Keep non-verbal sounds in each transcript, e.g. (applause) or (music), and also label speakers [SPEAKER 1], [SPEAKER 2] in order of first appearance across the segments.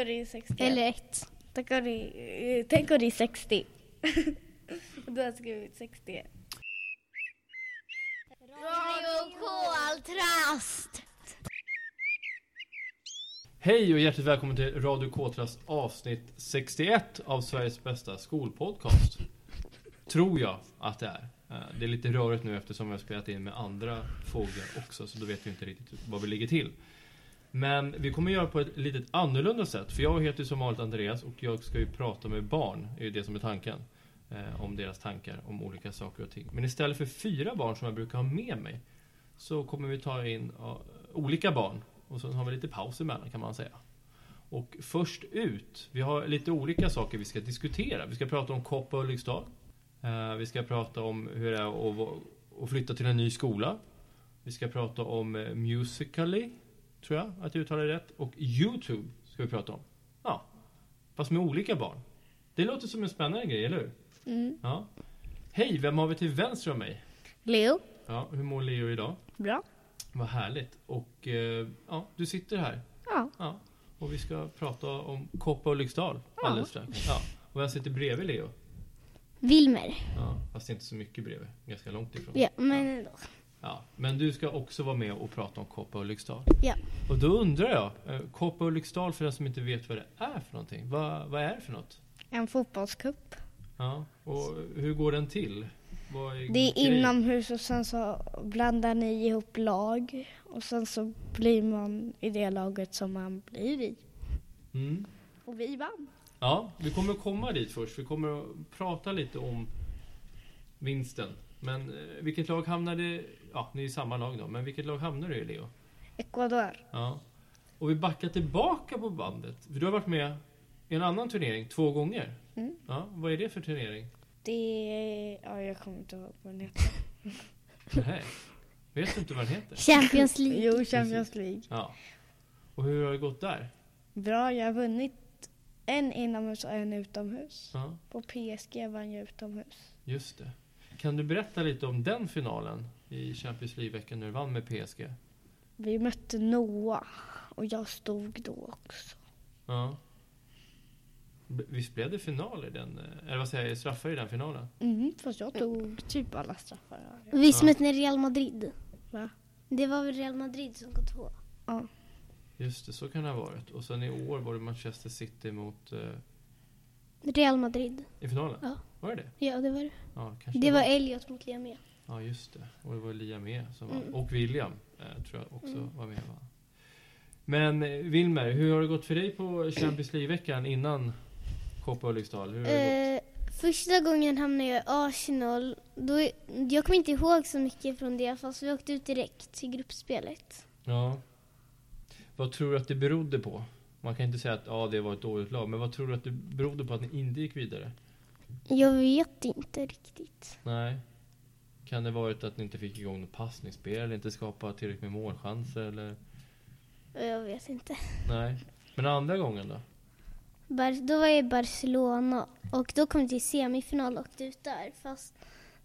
[SPEAKER 1] om det är 60.
[SPEAKER 2] Eller ett.
[SPEAKER 1] Tänk om det är, tänk om det är (laughs) 60. Då har jag skrivit 60.
[SPEAKER 2] Radio Koltrast!
[SPEAKER 3] Hej och hjärtligt välkommen till Radio Kåtras avsnitt 61 av Sveriges bästa skolpodcast. Tror jag att det är. Eh, Det är lite rörigt nu eftersom vi har spelat in med andra fåglar också så då vet vi inte riktigt var vi ligger till. Men vi kommer göra på ett lite annorlunda sätt för jag heter ju som vanligt Andreas och jag ska ju prata med barn, är ju det som är tanken. eh, Om deras tankar om olika saker och ting. Men istället för fyra barn som jag brukar ha med mig så kommer vi ta in ja, olika barn och sen har vi lite paus emellan kan man säga. Och först ut, vi har lite olika saker vi ska diskutera. Vi ska prata om Koppa och Ulriksdal. Eh, Vi ska prata om hur det är att va- att flytta till en ny skola. Vi ska prata om eh, Musical.ly, tror jag att jag uttalar det rätt. Och Youtube ska vi prata om. Ja, fast med olika barn. Det låter som en spännande grej, eller hur? Ja. Hej, vem har vi till vänster om mig?
[SPEAKER 2] Leo.
[SPEAKER 3] Ja, hur mår Leo idag?
[SPEAKER 2] Bra.
[SPEAKER 3] Vad härligt. Och eh, ja, du sitter här.
[SPEAKER 2] Ja.
[SPEAKER 3] Ja. Och vi ska prata om Koppa och Lyxdal
[SPEAKER 2] Ja.
[SPEAKER 3] alldeles strax. Ja. Och vem sitter bredvid Leo?
[SPEAKER 2] Wilmer.
[SPEAKER 3] Ja, fast inte så mycket bredvid. Ganska långt ifrån.
[SPEAKER 2] Ja, men ändå.
[SPEAKER 3] Ja. Men du ska också vara med och prata om Koppa och Lyxdal.
[SPEAKER 2] Ja.
[SPEAKER 3] Och då undrar jag, eh, Koppa och Lyxdal för den som inte vet vad det är för någonting. Vad, vad är det för något?
[SPEAKER 1] En fotbollscup.
[SPEAKER 3] Ja. Och hur går den till? Vad
[SPEAKER 1] Det är
[SPEAKER 3] grejen?
[SPEAKER 1] inomhus och sen så blandar ni ihop lag och sen så blir man i det laget som man blir i.
[SPEAKER 3] Mm.
[SPEAKER 1] Och vi vann.
[SPEAKER 3] Ja, vi kommer att komma dit först. Vi kommer att prata lite om vinsten. Men eh, vilket lag hamnade... Ja, ni är i samma lag då. Men vilket lag hamnade du i, Leo?
[SPEAKER 1] Ecuador.
[SPEAKER 3] Ja. Och vi backar tillbaka på bandet. För du har varit med i en annan turnering två gånger.
[SPEAKER 1] Mm.
[SPEAKER 3] Ja, vad är det för turnering?
[SPEAKER 1] Det är... Ja, jag kommer inte ihåg vad den heter.
[SPEAKER 3] Nej. Vet du inte vad den heter?
[SPEAKER 2] (laughs) Champions League.
[SPEAKER 1] Jo, Champions League.
[SPEAKER 3] Ja. Och hur har det gått där?
[SPEAKER 1] Bra, jag har vunnit en inomhus och en utomhus.
[SPEAKER 3] Ja,
[SPEAKER 1] På PSG vann jag utomhus.
[SPEAKER 3] just det. Kan du berätta lite om den finalen i Champions League-veckan när du vann med PSG?
[SPEAKER 1] Vi mötte Noah och jag stod då också.
[SPEAKER 3] Ja. B- Visst blev det final i den, eh, eller vad säger jag, straffar i den finalen?
[SPEAKER 1] Mm, fast jag tog typ alla straffar.
[SPEAKER 2] Vi
[SPEAKER 3] Ja.
[SPEAKER 2] mötte Real Madrid.
[SPEAKER 1] Va?
[SPEAKER 2] Det var väl Real Madrid som kom två.
[SPEAKER 3] Just det, så kan det ha varit. Och sen i år var det Manchester City mot, eh,
[SPEAKER 2] Real Madrid.
[SPEAKER 3] i finalen?
[SPEAKER 2] Ja.
[SPEAKER 3] Var det det?
[SPEAKER 2] Ja, det var det.
[SPEAKER 3] Ja, kanske
[SPEAKER 2] Det var Elliot mot Liamé.
[SPEAKER 3] Ja, just det. Och det var Liam E som var,
[SPEAKER 2] Mm.
[SPEAKER 3] och William eh, tror jag också
[SPEAKER 2] Mm.
[SPEAKER 3] var med va? Men eh, Wilmer, hur har det gått för dig på Champions League-veckan innan Copa Ulriksdal? Hur har det gått?
[SPEAKER 4] Eh, första gången hamnade jag i Arsenal. Då, jag kommer inte ihåg så mycket från det fast vi åkte ut direkt till gruppspelet.
[SPEAKER 2] Eh.
[SPEAKER 3] Ja. Vad tror du att det berodde på? Man kan inte säga att ja, det var ett dåligt lag, men vad tror du att det berodde på att ni inte gick vidare?
[SPEAKER 4] Jag vet inte riktigt.
[SPEAKER 3] Nej. Kan det varit att ni inte fick igång något passningsspel eller inte skapa tillräckligt med målchanser eller?
[SPEAKER 4] Jag vet inte.
[SPEAKER 3] Nej. Men andra gången då?
[SPEAKER 4] Bar- då var jag i Barcelona och då kom vi till semifinal och åkte ut där. Fast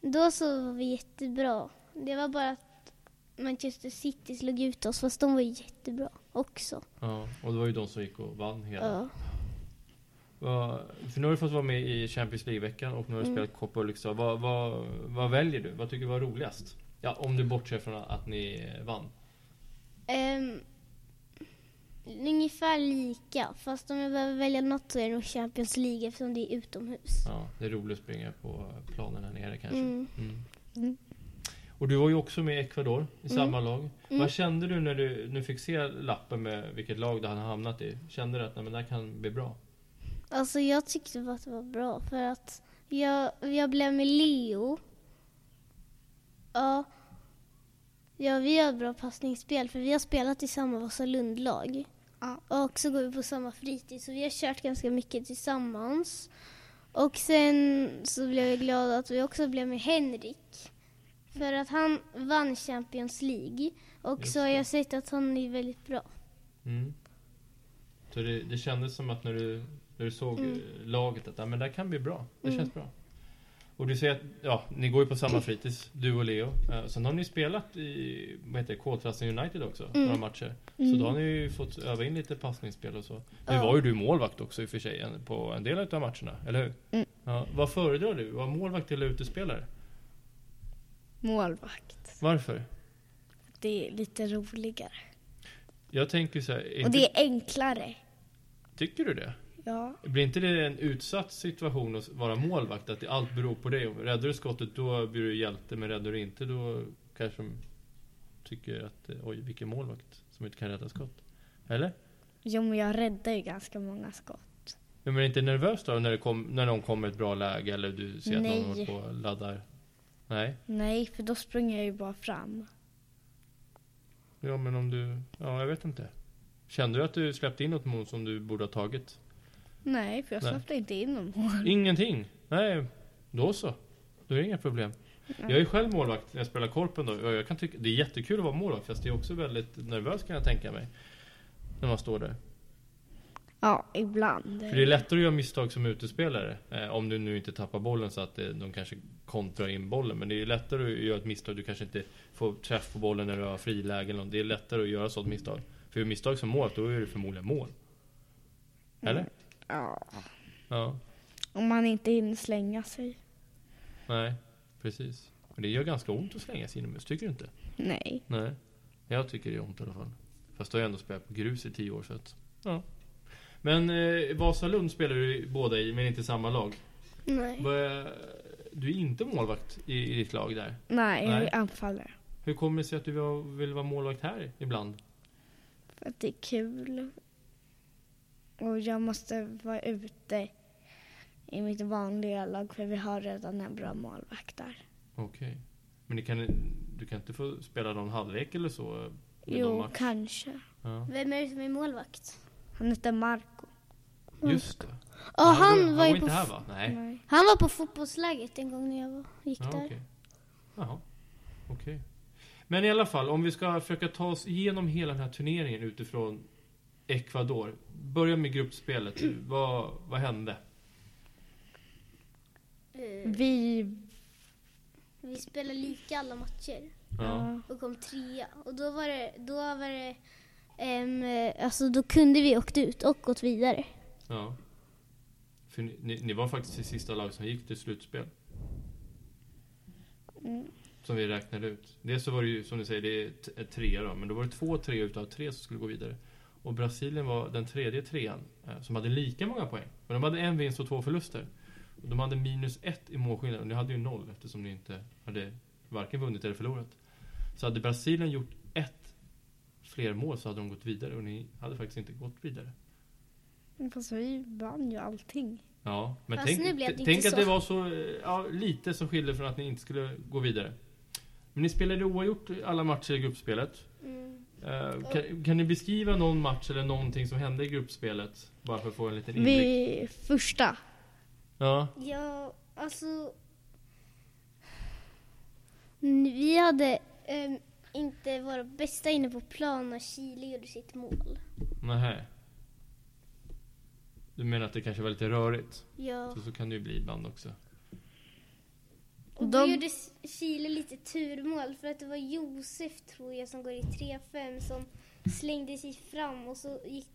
[SPEAKER 4] då så var vi jättebra. Det var bara att Manchester City slog ut oss fast de var jättebra också.
[SPEAKER 3] Ja, och det var ju de som gick och vann hela.
[SPEAKER 4] Ja.
[SPEAKER 3] Vad- För nu har du fått vara med i Champions League-veckan och nu har du
[SPEAKER 4] Mm.
[SPEAKER 3] spelat Copa Ulriksdal. Vad, vad, vad väljer du? Vad tycker du var roligast? Ja, om du bortser från att ni eh, vann.
[SPEAKER 4] Ehm, ungefär lika, fast om jag behöver välja något så är det nog Champions League eftersom det är utomhus.
[SPEAKER 3] Ja, det är roligt att springa på planen här nere kanske.
[SPEAKER 4] Mm.
[SPEAKER 3] Mm.
[SPEAKER 1] Mm.
[SPEAKER 3] Och du var ju också med i Ecuador i
[SPEAKER 4] Mm.
[SPEAKER 3] samma lag.
[SPEAKER 4] Mm.
[SPEAKER 3] Vad kände du när du, när du fick se lappen med vilket lag du hade hamnat i? Kände du att nej, men det här kan bli bra?
[SPEAKER 4] Alltså jag tyckte bara att det var bra för att jag, jag blev med Leo. Ja, ja, vi har bra passningsspel för vi har spelat i samma Vasalundlag.
[SPEAKER 1] Ja.
[SPEAKER 4] Och så går vi på samma fritid så vi har kört ganska mycket tillsammans. Och sen så blev jag glad att vi också blev med Henrik. För att han vann Champions League och
[SPEAKER 3] Just
[SPEAKER 4] så har
[SPEAKER 3] det.
[SPEAKER 4] jag sett att han är väldigt bra.
[SPEAKER 3] Mm. Så det, det kändes som att när du, när du såg
[SPEAKER 4] Mm.
[SPEAKER 3] eh, laget att ja, men det här kan bli bra. Det
[SPEAKER 4] Mm.
[SPEAKER 3] känns bra. Och du säger att, ja, ni går ju på samma fritids, du och Leo. Eh, sen har ni spelat i, vad heter det, Koltrasten United också,
[SPEAKER 4] Mm.
[SPEAKER 3] några matcher. Så
[SPEAKER 1] Mm.
[SPEAKER 3] då har ni ju fått öva in lite passningsspel och så. Nu
[SPEAKER 2] Ja.
[SPEAKER 3] var ju du målvakt också i och för sig en- på en del av matcherna, eller hur?
[SPEAKER 1] Mm.
[SPEAKER 3] Ja, vad föredrar du? Var målvakt eller utespelare?
[SPEAKER 1] Målvakt.
[SPEAKER 3] Varför?
[SPEAKER 1] Det är lite roligare.
[SPEAKER 3] Jag tänker så här, är
[SPEAKER 1] Och
[SPEAKER 3] inte,
[SPEAKER 1] det är enklare.
[SPEAKER 3] tycker du det?
[SPEAKER 1] Ja.
[SPEAKER 3] Blir inte det en utsatt situation att vara målvakt? Att det allt beror på dig? Om Räddar du skottet då blir du hjälte, men räddar du inte då kanske de tycker att eh, oj, vilken målvakt som inte kan rädda skott. Eller?
[SPEAKER 1] Jo, men jag räddar ju ganska många skott.
[SPEAKER 3] Men är du inte nervös då när, det kom, när någon kommer i ett bra läge eller du ser att
[SPEAKER 1] Nej.
[SPEAKER 3] någon håller på och laddar? Nej?
[SPEAKER 1] Nej, för då springer jag ju bara fram.
[SPEAKER 3] Ja, men om du... Ja, jag vet inte. Kände du att du släppte in något mål som du borde ha tagit?
[SPEAKER 1] Nej, för jag
[SPEAKER 3] Nej.
[SPEAKER 1] släppte inte in någon mål.
[SPEAKER 3] Ingenting? Nej, då så. Då är det inga problem. Jag är själv målvakt när jag spelar korpen då. Och Jag kan tycka, det är jättekul att vara målvakt fast det är också väldigt nervöst kan jag tänka mig. När man står där.
[SPEAKER 1] (laughs) Ja, ibland.
[SPEAKER 3] För det är lättare att göra misstag som utespelare. Eh, om du nu inte tappar bollen så att eh, de kanske kontrar in bollen. Men det är lättare att göra ett misstag. Du kanske inte får träff på bollen när du har friläge eller något. Det är lättare att göra sådant misstag. För gör misstag som mål, då är det förmodligen mål. Eller?
[SPEAKER 1] Ja,
[SPEAKER 3] Ja.
[SPEAKER 1] om man inte hinner slänga sig.
[SPEAKER 3] Nej, precis. Men det gör ganska ont att slänga sig inomhus, tycker du inte?
[SPEAKER 1] Nej.
[SPEAKER 3] Nej. Jag tycker det är ont i alla fall. Fast då har jag ändå spelat på grus i tio år så att, ja. Men eh, Vasalund spelar du båda i, men inte samma lag.
[SPEAKER 2] Nej.
[SPEAKER 3] Vad är- Du är inte målvakt i, i ditt lag där.
[SPEAKER 1] Nej,
[SPEAKER 3] Nej.
[SPEAKER 1] jag anfaller.
[SPEAKER 3] Hur kommer det sig att du vill- vill vara målvakt här ibland?
[SPEAKER 1] För att det är kul. Och jag måste vara ute i mitt vanliga lag för vi har redan en bra målvakt där.
[SPEAKER 3] Okej. Men det kan, du kan inte få spela någon halvlek eller så? eh, i någon
[SPEAKER 1] Jo,
[SPEAKER 3] match?
[SPEAKER 1] kanske.
[SPEAKER 3] Ja.
[SPEAKER 2] Vem är det som är målvakt?
[SPEAKER 1] Han heter Marco.
[SPEAKER 3] Just det.
[SPEAKER 2] Ja, han var ju på...
[SPEAKER 3] inte här va? Nej.
[SPEAKER 1] Nej.
[SPEAKER 2] Han var på fotbollslägret en gång när jag var, gick
[SPEAKER 3] Ja,
[SPEAKER 2] där.
[SPEAKER 3] okej. Jaha, okej. Men i alla fall, om vi ska försöka ta oss igenom hela den här turneringen utifrån Ecuador. Börja med
[SPEAKER 2] (clears throat)
[SPEAKER 3] gruppspelet. vad, vad hände?
[SPEAKER 2] Eh,
[SPEAKER 1] Vi...
[SPEAKER 2] Vi spelade lika alla matcher
[SPEAKER 1] Ja.
[SPEAKER 2] och kom trea. Och då var det... Då var det ehm, eh, alltså då kunde vi åkt ut och gått vidare.
[SPEAKER 3] ja. För ni, ni, ni var faktiskt det sista lag som gick till slutspel. Som vi räknade ut. Dels så var det ju, som ni säger, det är t- ett trea då. Men då var det två tre utav tre som skulle gå vidare. Och Brasilien var den tredje trean eh, som hade lika många poäng. Men de hade en vinst och två förluster. Och de hade minus ett i målskillnad. Och ni hade ju noll eftersom ni inte hade varken vunnit eller förlorat. Så hade Brasilien gjort ett fler mål så hade de gått vidare. Och ni hade faktiskt inte gått vidare.
[SPEAKER 1] Fast vi vann ju allting.
[SPEAKER 3] Ja, men
[SPEAKER 2] Fast nu
[SPEAKER 3] tänk,
[SPEAKER 2] blev det inte
[SPEAKER 3] tänk att
[SPEAKER 2] så.
[SPEAKER 3] det var så eh, ja, lite som skilde från att ni inte skulle gå vidare. Men ni spelade oavgjort i alla matcher i gruppspelet. Eh, kan, kan ni beskriva någon match eller någonting som hände i gruppspelet? Bara för att få en liten inblick.
[SPEAKER 1] Vi... Första.
[SPEAKER 3] Ja,
[SPEAKER 2] Ja, alltså... Mm, Vi hade ehm, inte våra bästa inne på plan när Chile gjorde sitt mål.
[SPEAKER 3] nähä. Du menar att det kanske var lite rörigt?
[SPEAKER 2] Ja,
[SPEAKER 3] Så, så kan det ju bli ibland också.
[SPEAKER 2] och då
[SPEAKER 1] De-
[SPEAKER 2] gjorde S- Chile lite turmål för att det var Josef, tror jag, som går i 3-5 som slängde sig fram och så gick,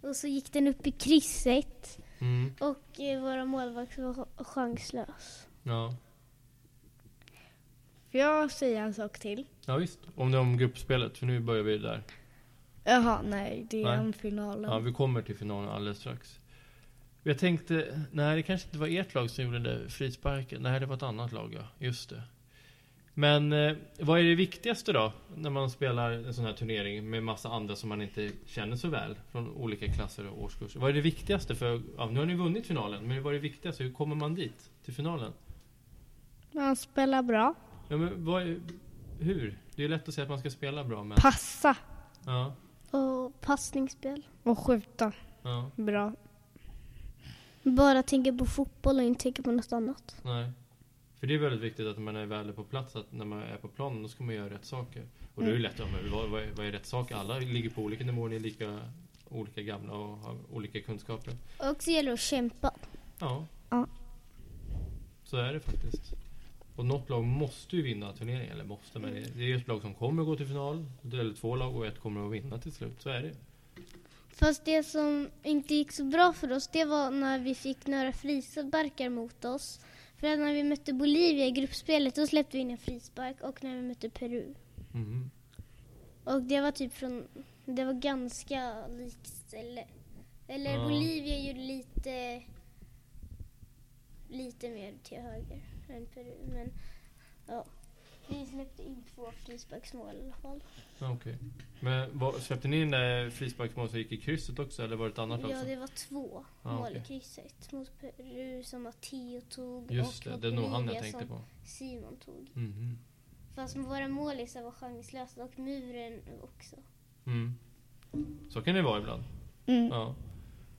[SPEAKER 2] och så gick den upp i krysset
[SPEAKER 3] Mm,
[SPEAKER 2] och eh, våra målvakt var ch- chanslös.
[SPEAKER 3] ja.
[SPEAKER 1] Får jag säga en sak till?
[SPEAKER 3] ja, visst. Om det är om gruppspelet, för nu börjar vi där.
[SPEAKER 1] Jaha, nej. Det är
[SPEAKER 3] Nej.
[SPEAKER 1] om finalen.
[SPEAKER 3] Ja, vi kommer till finalen alldeles strax. Jag tänkte, nej det kanske inte var ert lag som gjorde den där frisparken. Nej, det var ett annat lag, ja. Just det. Men eh, vad är det viktigaste då? När man spelar en sån här turnering med massa andra som man inte känner så väl. Från olika klasser och årskurser. Vad är det viktigaste? för ja, Nu har ni vunnit finalen, men vad är det viktigaste? Hur kommer man dit? Till finalen?
[SPEAKER 1] Man spelar bra.
[SPEAKER 3] Ja, men vad är, hur? Det är ju lätt att säga att man ska spela bra, men...
[SPEAKER 1] Passa.
[SPEAKER 3] Ja,
[SPEAKER 2] Och passningsspel.
[SPEAKER 1] Och skjuta
[SPEAKER 3] ja,
[SPEAKER 1] bra.
[SPEAKER 2] Bara tänka på fotboll och inte tänka på något annat.
[SPEAKER 3] Nej. För det är väldigt viktigt att man är väl på plats. Att när man är på planen då ska man göra rätt saker. Och
[SPEAKER 4] Mm.
[SPEAKER 3] då är det lätt att men vad, vad, är, vad är rätt saker? Alla ligger på olika nivåer, ni är lika, olika gamla och har olika kunskaper.
[SPEAKER 2] Och så gäller det att kämpa.
[SPEAKER 3] Ja.
[SPEAKER 1] Ja.
[SPEAKER 3] Så är det faktiskt. Och något lag måste ju vinna turneringen. Eller måste, men
[SPEAKER 4] Mm.
[SPEAKER 3] det- det är ju ett lag som kommer att gå till final. Eller två lag och ett kommer att vinna till slut. Så är det ju.
[SPEAKER 4] Fast det som inte gick så bra för oss det var när vi fick några frisparkar mot oss. För att när vi mötte Bolivia i gruppspelet då släppte vi in en frispark och när vi mötte Peru.
[SPEAKER 3] Mhm.
[SPEAKER 4] Och det var typ från, det var ganska likt eller, eller
[SPEAKER 3] Ja.
[SPEAKER 4] Bolivia gjorde lite, lite mer till höger än Peru. Men ja, vi släppte in två frisparksmål i alla fall.
[SPEAKER 3] Ja, Okej. Men vad, släppte ni in det frisparksmål som gick i krysset också? Eller var det ett annat lag
[SPEAKER 4] Ja,
[SPEAKER 3] som...
[SPEAKER 4] det var två
[SPEAKER 3] Ja,
[SPEAKER 4] mål
[SPEAKER 3] okej.
[SPEAKER 4] i krysset mot Peru som Matteo tog
[SPEAKER 3] Just
[SPEAKER 4] och
[SPEAKER 3] det,
[SPEAKER 4] mot
[SPEAKER 3] det är nog han jag
[SPEAKER 4] Bolivia
[SPEAKER 3] tänkte
[SPEAKER 4] som
[SPEAKER 3] på.
[SPEAKER 4] Simon tog.
[SPEAKER 3] Mhm.
[SPEAKER 4] Fast våra målisar var chanslösa och muren också.
[SPEAKER 3] Mm. Så kan det vara ibland.
[SPEAKER 1] Mm.
[SPEAKER 3] Ja.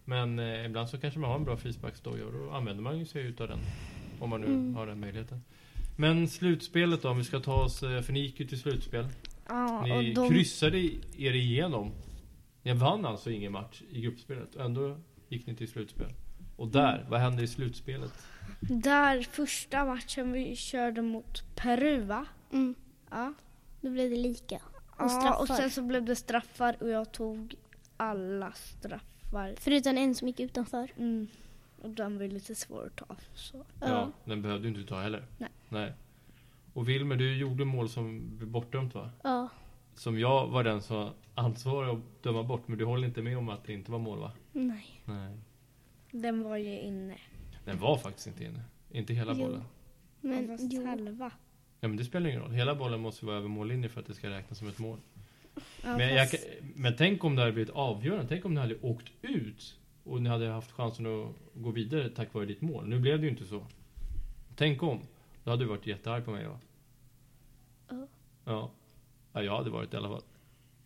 [SPEAKER 3] Men eh, ibland så kanske man har en bra frisparksdoja och då använder man ju sig utav den. Om man nu
[SPEAKER 1] Mm.
[SPEAKER 3] har den möjligheten. Men slutspelet då, om vi ska ta oss, eh, för ni gick ju till slutspel.
[SPEAKER 1] Ja,
[SPEAKER 3] Ni
[SPEAKER 1] och de,
[SPEAKER 3] kryssade i- er igenom. Ni vann alltså ingen match i gruppspelet. Ändå gick ni till slutspel. Och där,
[SPEAKER 1] Mm.
[SPEAKER 3] vad hände i slutspelet?
[SPEAKER 1] där första matchen vi körde mot Peru va?
[SPEAKER 4] Mm.
[SPEAKER 1] Ja.
[SPEAKER 4] Då blev det lika.
[SPEAKER 1] Och, ja, och
[SPEAKER 4] straffar.
[SPEAKER 1] sen så blev det straffar och jag tog alla straffar.
[SPEAKER 4] Förutom en som gick utanför.
[SPEAKER 1] Mm. Och den var ju lite svår att ta. Så.
[SPEAKER 3] Ja, den behövde du inte ta heller.
[SPEAKER 1] Nej.
[SPEAKER 3] Och Wilmer, du gjorde mål som blev bortdömt va?
[SPEAKER 4] Ja.
[SPEAKER 3] Som jag var den som var ansvarig att döma bort. Men du håller inte med om att det inte var mål va?
[SPEAKER 4] Nej.
[SPEAKER 3] Nej.
[SPEAKER 1] Den var ju inne.
[SPEAKER 3] Den var faktiskt inte inne. Inte hela
[SPEAKER 4] Jo.
[SPEAKER 3] bollen.
[SPEAKER 1] Men,
[SPEAKER 4] Men
[SPEAKER 1] fast
[SPEAKER 4] jo.
[SPEAKER 1] halva.
[SPEAKER 3] Ja men det spelar ingen roll. Hela bollen måste vara över mållinjen för att det ska räknas som ett mål.
[SPEAKER 1] Ja,
[SPEAKER 3] men, jag,
[SPEAKER 1] fast-
[SPEAKER 3] kan- men tänk om det hade blivit avgörande. Tänk om ni hade åkt ut och ni hade haft chansen att gå vidare tack vare ditt mål. Nu blev det ju inte så. Tänk om. Då hade du varit jättearg på mig va?
[SPEAKER 4] Ja.
[SPEAKER 3] Ja. Ja, jag hade varit i alla fall.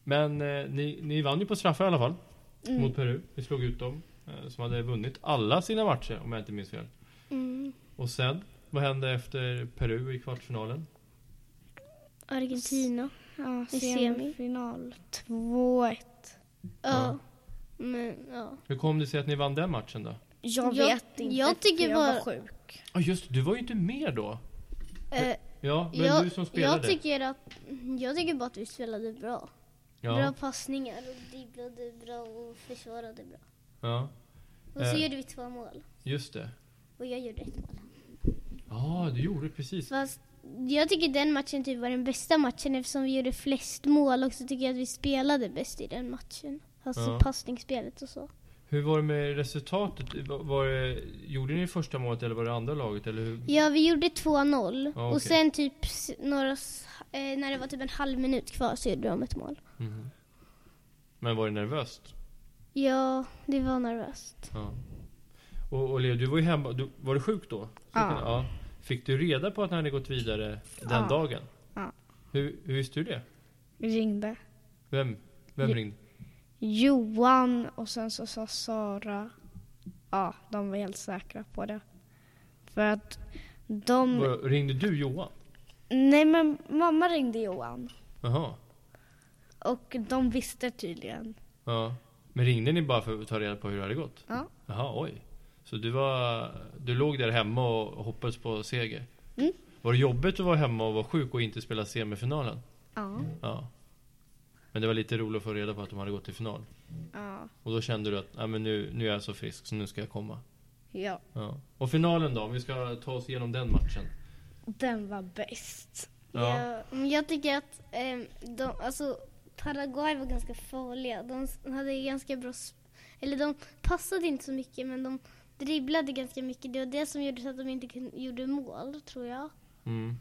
[SPEAKER 3] Men eh, ni, ni vann ju på straffar i alla fall.
[SPEAKER 1] Mm.
[SPEAKER 3] Mot Peru. Ni slog ut dem. Eh, som hade vunnit alla sina matcher om jag inte minns fel.
[SPEAKER 4] Mm.
[SPEAKER 3] Och sen, vad hände efter Peru i kvartsfinalen?
[SPEAKER 4] Argentina.
[SPEAKER 1] Ja,
[SPEAKER 4] I semi.
[SPEAKER 1] semifinal 2-1.
[SPEAKER 3] Ja.
[SPEAKER 4] Ja. Men ja.
[SPEAKER 3] Hur kom det sig att ni vann den matchen då?
[SPEAKER 1] Jag
[SPEAKER 4] Jag-
[SPEAKER 1] vet inte,
[SPEAKER 4] jag tycker
[SPEAKER 1] för jag var
[SPEAKER 4] bara-
[SPEAKER 1] sjuk.
[SPEAKER 3] Ja just det, du var ju inte med då.
[SPEAKER 4] Eh,
[SPEAKER 3] Ja, men
[SPEAKER 4] jag,
[SPEAKER 3] du som spelade.
[SPEAKER 4] jag, tycker att, jag tycker bara att vi spelade bra. Bra
[SPEAKER 3] ja,
[SPEAKER 4] passningar och dribblade bra och försvarade bra.
[SPEAKER 3] ja,
[SPEAKER 4] Och så
[SPEAKER 3] Eh.
[SPEAKER 4] gjorde vi två mål.
[SPEAKER 3] just det.
[SPEAKER 4] Och jag gjorde ett mål.
[SPEAKER 3] Ja, du gjorde precis.
[SPEAKER 4] Fast jag tycker den matchen typ var den bästa matchen eftersom vi gjorde flest mål och så tycker jag att vi spelade bäst i den matchen. Alltså
[SPEAKER 3] Ja.
[SPEAKER 4] passningsspelet och så.
[SPEAKER 3] Hur var det med resultatet? Var- Var det, gjorde ni första målet eller var det andra laget? Eller hur?
[SPEAKER 4] Ja, vi gjorde 2-0
[SPEAKER 3] Ja, okej.
[SPEAKER 4] och sen typ s- några, s- eh, när det var typ en halv minut kvar så gjorde de ett mål.
[SPEAKER 3] Mhm. Men var det nervöst?
[SPEAKER 4] Ja, det var nervöst.
[SPEAKER 3] Ja. Och, och Leo, du var ju hemma. Du, var du sjuk då? Så
[SPEAKER 1] Ja.
[SPEAKER 3] kan- ja. Fick du reda på att ni hade gått vidare den
[SPEAKER 1] Ja.
[SPEAKER 3] dagen?
[SPEAKER 1] Ja.
[SPEAKER 3] Hur, hur visste du det?
[SPEAKER 1] Vi ringde.
[SPEAKER 3] Vem, vem
[SPEAKER 1] Jo.
[SPEAKER 3] ringde?
[SPEAKER 1] Johan och sen så sa Sara. Ja, de var helt säkra på det. För att de...
[SPEAKER 3] Var, ringde du Johan?
[SPEAKER 1] Nej men mamma ringde Johan.
[SPEAKER 3] Jaha.
[SPEAKER 1] Och de visste tydligen.
[SPEAKER 3] Ja. Men ringde ni bara för att ta reda på hur det hade gått?
[SPEAKER 1] Ja.
[SPEAKER 3] Jaha, oj. Så du var, du låg där hemma och hoppades på seger?
[SPEAKER 1] Mm.
[SPEAKER 3] Var det jobbigt att vara hemma och vara sjuk och inte spela semifinalen?
[SPEAKER 1] Ja.
[SPEAKER 3] Ja. Men det var lite roligt att få reda på att de hade gått till final.
[SPEAKER 1] Ja.
[SPEAKER 3] Och då kände du att, nej men nu, nu är jag så frisk så nu ska jag komma.
[SPEAKER 1] ja.
[SPEAKER 3] Ja. Och finalen då, om vi ska ta oss igenom den matchen.
[SPEAKER 1] Den var bäst.
[SPEAKER 3] Ja.
[SPEAKER 4] Ja, Eh, men jag tycker att ehm, de, alltså, Paraguay var ganska farliga. De s- hade ganska bra... sp- Eller de passade inte så mycket, men de dribblade ganska mycket. Det var det som gjorde så att de inte kun, gjorde mål, tror jag.
[SPEAKER 3] Mm.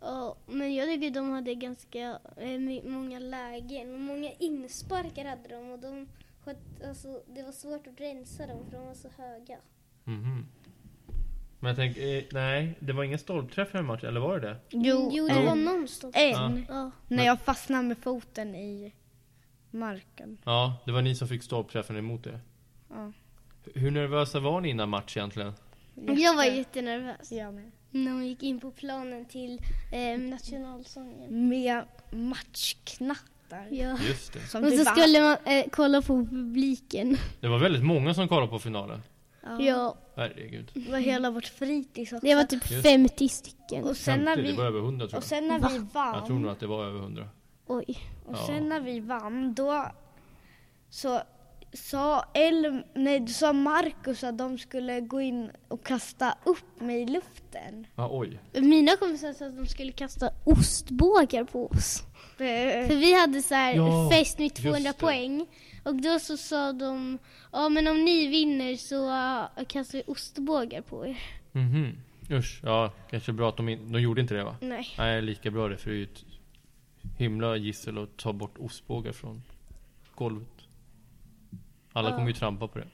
[SPEAKER 4] Ja, men jag tycker de hade ganska eh, my- många lägen. Och många insparkar hade de. Och de sköt, alltså, det var svårt att rensa dem, för de var så höga.
[SPEAKER 3] Mhm. Men jag tänker, eh, nej, det var ingen stolpträff i matchen, eller var det det?
[SPEAKER 1] Jo,
[SPEAKER 4] jo Eh.
[SPEAKER 1] en.
[SPEAKER 4] det var nonstop.
[SPEAKER 1] En.
[SPEAKER 3] Ja.
[SPEAKER 4] Ja.
[SPEAKER 1] När jag fastnade med foten i marken.
[SPEAKER 3] Ja, det var ni som fick stolpträffen emot er.
[SPEAKER 1] Ja.
[SPEAKER 3] Hur nervösa var ni innan match egentligen?
[SPEAKER 4] Jag var jättenervös.
[SPEAKER 1] Jag med.
[SPEAKER 4] När hon gick in på planen till eh, nationalsången.
[SPEAKER 1] Med matchknattar.
[SPEAKER 4] Ja.
[SPEAKER 3] Just det.
[SPEAKER 1] Som
[SPEAKER 4] Och
[SPEAKER 1] du
[SPEAKER 4] så
[SPEAKER 1] bara-
[SPEAKER 4] skulle man eh, kolla på publiken.
[SPEAKER 3] Det var väldigt många som kollade på finalen.
[SPEAKER 1] Ja.
[SPEAKER 4] Ja,
[SPEAKER 3] Herregud.
[SPEAKER 1] Det var hela vårt fritids också.
[SPEAKER 4] det var typ
[SPEAKER 3] Just.
[SPEAKER 4] 50 stycken.
[SPEAKER 1] och sen när
[SPEAKER 3] 50, det var
[SPEAKER 1] vi,
[SPEAKER 3] över 100 tror
[SPEAKER 1] och
[SPEAKER 3] jag.
[SPEAKER 1] sen när
[SPEAKER 4] Va?
[SPEAKER 1] vi
[SPEAKER 3] Jag tror
[SPEAKER 1] vann,
[SPEAKER 3] nog att det var över 100.
[SPEAKER 4] Oj.
[SPEAKER 1] och
[SPEAKER 3] Ja.
[SPEAKER 1] sen när vi vann då så sa El, nej då sa Marcus att de skulle gå in och kasta upp mig i luften.
[SPEAKER 3] Ja, oj.
[SPEAKER 4] Mina kompisar sa att de skulle kasta ostbågar på oss.
[SPEAKER 1] Eh,
[SPEAKER 4] För vi hade så här
[SPEAKER 3] Ja,
[SPEAKER 4] fest med
[SPEAKER 3] just
[SPEAKER 4] 200
[SPEAKER 3] det.
[SPEAKER 4] poäng. Och då så sa de, ja men om ni vinner så äh, kastar vi ostbågar på er.
[SPEAKER 3] Mhm. Usch. Ja, kanske bra att de, in, de gjorde inte det va?
[SPEAKER 4] Nej.
[SPEAKER 3] Nej, lika bra det. För det är ju ett himla gissel att ta bort ostbågar från golvet. Alla kommer ju trampa på det.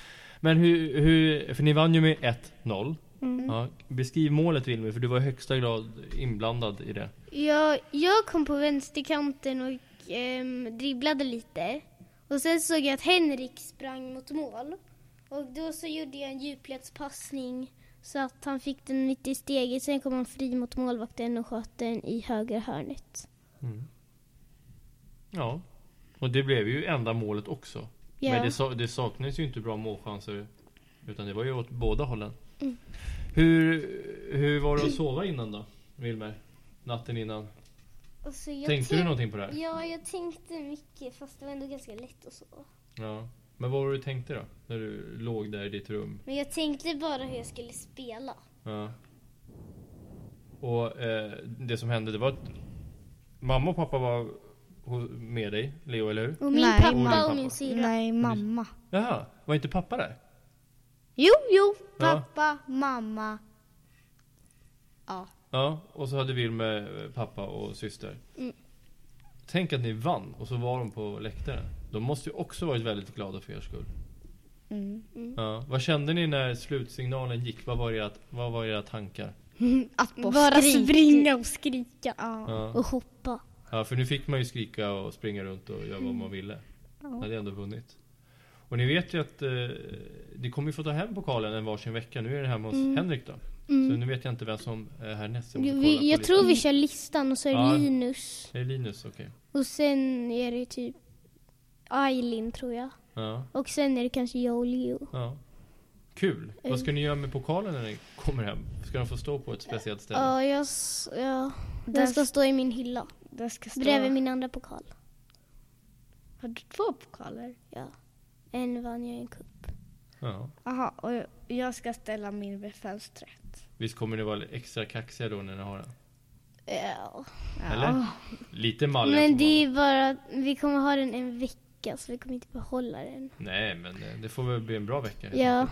[SPEAKER 3] (laughs) Men hur, hur, för ni vann ju med 1-0.
[SPEAKER 4] Mm.
[SPEAKER 2] Mm.
[SPEAKER 3] Ja, beskriv målet Wilmer, för du var i högsta grad inblandad i det.
[SPEAKER 4] Jag, jag kom på vänsterkanten och ehm, dribblade lite. Och sen såg jag att Henrik sprang mot mål. Och då så gjorde jag en djupledspassning så att han fick den mitt i steget. Sen kom han fri mot målvakten och sköt den i högra hörnet.
[SPEAKER 3] Ja. Och det blev ju enda målet också.
[SPEAKER 4] Ja.
[SPEAKER 3] Men det, sa- det saknades ju inte bra målchanser. Utan det var ju åt båda hållen.
[SPEAKER 2] Mm.
[SPEAKER 3] Hur, hur var det att sova innan då? Wilmer? Natten innan?
[SPEAKER 2] Och så jag
[SPEAKER 3] Tänkte
[SPEAKER 2] tänk-
[SPEAKER 3] du någonting på det här?
[SPEAKER 2] Ja, jag tänkte mycket fast det var ändå ganska lätt och så.
[SPEAKER 3] Ja. Men vad var det du tänkte då? När du låg där i ditt rum?
[SPEAKER 2] Men jag tänkte bara hur jag skulle spela.
[SPEAKER 3] Ja. Och eh, det som hände det var att mamma och pappa var ho- med dig, Leo, eller hur?
[SPEAKER 4] Och min
[SPEAKER 1] Nej,
[SPEAKER 4] pappa
[SPEAKER 1] mamma.
[SPEAKER 4] och min syrra.
[SPEAKER 1] nej, mamma.
[SPEAKER 3] Jaha, var inte pappa där?
[SPEAKER 1] Jo, jo,
[SPEAKER 3] Ja.
[SPEAKER 1] pappa, mamma. Ja.
[SPEAKER 3] Ja, och så hade Wilmer eh, pappa och syster. Tänk att ni vann och så var de på läktaren. De måste ju också varit väldigt glada för er skull.
[SPEAKER 1] Mm.
[SPEAKER 3] Ja. Vad kände ni när slutsignalen gick? Vad var era, vad var era tankar?
[SPEAKER 1] Att bara,
[SPEAKER 4] Bara
[SPEAKER 1] skrika.
[SPEAKER 4] springa och skrika.
[SPEAKER 1] Ja.
[SPEAKER 3] Ja.
[SPEAKER 4] Och hoppa.
[SPEAKER 3] ja, för nu fick man ju skrika och springa runt och göra vad man ville. Ni hade ändå vunnit. Och ni vet ju att eh, ni kommer ju få ta hem pokalen en varsin vecka. Nu är den hemma hos Henrik då. Så nu vet jag inte vem som är härnäst. Jag, måste kolla på
[SPEAKER 4] Vi, Mm. jag
[SPEAKER 3] listan.
[SPEAKER 4] tror vi kör listan och så är det
[SPEAKER 3] Ja.
[SPEAKER 4] Linus.
[SPEAKER 3] Det är Linus, okej.
[SPEAKER 4] Och sen är det typ Aylin tror jag.
[SPEAKER 3] Ja.
[SPEAKER 4] Och sen är det kanske jag och Leo.
[SPEAKER 3] Ja. Kul! Vad ska ni göra med pokalen när ni kommer hem? Ska den få stå på ett speciellt ställe?
[SPEAKER 4] Ja, jag, s- ja.
[SPEAKER 1] Där-
[SPEAKER 4] Den ska stå i min hylla.
[SPEAKER 1] Det ska stå...
[SPEAKER 4] Bredvid min andra pokal.
[SPEAKER 1] Har du två pokaler?
[SPEAKER 4] Ja. En vann jag i en cup.
[SPEAKER 3] Ja.
[SPEAKER 1] Jaha, och jag- jag ska ställa min vid fönstret.
[SPEAKER 3] Visst kommer ni vara extra kaxiga då när ni har den?
[SPEAKER 4] Ja.
[SPEAKER 3] Eller?
[SPEAKER 1] Ah,
[SPEAKER 3] Lite malliga får
[SPEAKER 4] Men
[SPEAKER 3] man
[SPEAKER 4] det är bara, vi kommer ha den en vecka så vi kommer inte behålla den.
[SPEAKER 3] vara. Nej men eh, det får väl bli en bra vecka.
[SPEAKER 4] Ja.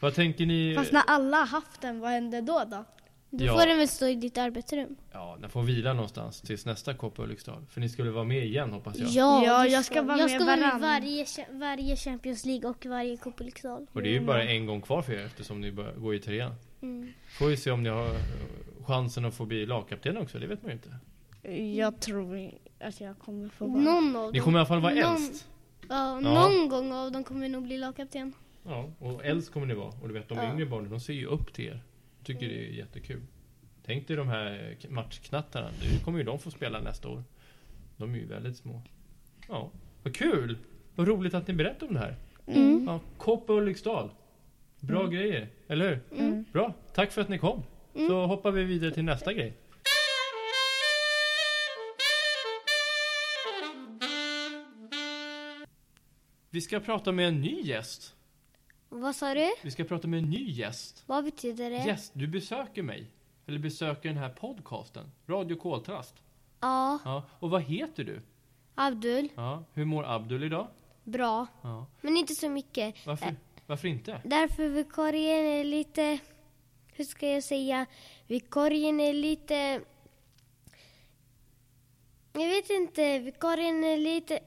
[SPEAKER 3] Vad tänker ni?
[SPEAKER 1] Fast när alla har haft den, vad händer då då?
[SPEAKER 4] Då
[SPEAKER 3] Ja.
[SPEAKER 4] får den väl stå i ditt arbetsrum.
[SPEAKER 3] Ja, den får vila någonstans tills nästa kopp Ulriksdal. För ni skulle vara med igen hoppas jag.
[SPEAKER 1] Ja,
[SPEAKER 4] du
[SPEAKER 1] jag ska vara
[SPEAKER 4] jag
[SPEAKER 1] med
[SPEAKER 4] ska vara
[SPEAKER 1] varann.
[SPEAKER 4] med varje, cha- varje Champions League och varje Copa Ulriksdal.
[SPEAKER 3] Och det är ju bara en gång kvar för er eftersom ni bör- går i trean.
[SPEAKER 4] Mm.
[SPEAKER 3] Får ju se om ni har eh, chansen att få bli lagkapten också, det vet man ju inte.
[SPEAKER 1] Jag tror i- att jag kommer få vara...
[SPEAKER 4] Någon av dem.
[SPEAKER 3] Ni kommer i alla fall vara
[SPEAKER 4] Någon-
[SPEAKER 3] äldst.
[SPEAKER 4] Ja,
[SPEAKER 3] Ja.
[SPEAKER 4] någon gång av dem kommer nog bli lagkapten.
[SPEAKER 3] Ja, och äldst kommer ni vara. Och du vet, de yngre barnen, de ser ju upp till er. Tycker det är jättekul. Tänk dig de här eh, matchknattarna. Nu kommer ju de få spela nästa år. De är ju väldigt små. Ja, vad kul! Vad roligt att ni berättade om det här.
[SPEAKER 1] Mm.
[SPEAKER 3] Ja, Kopp och Ulriksdal. Bra grejer, eller hur? Bra, tack för att ni kom. Så hoppar vi vidare till nästa grej. Vi ska prata med en ny gäst.
[SPEAKER 4] Vad sa du?
[SPEAKER 3] Vi ska prata med en ny gäst.
[SPEAKER 4] Vad betyder det?
[SPEAKER 3] Gäst, du besöker mig. Eller besöker den här podcasten. Radio Koltrast.
[SPEAKER 4] Ja.
[SPEAKER 3] Ja. Och vad heter du?
[SPEAKER 4] Abdul.
[SPEAKER 3] Ja. Hur mår Abdul idag?
[SPEAKER 4] Bra.
[SPEAKER 3] Ja.
[SPEAKER 4] Men inte så mycket.
[SPEAKER 3] Varför, varför inte?
[SPEAKER 4] Därför vikarien är lite, hur ska jag säga, vikarien är lite, jag vet inte, vikarien är lite,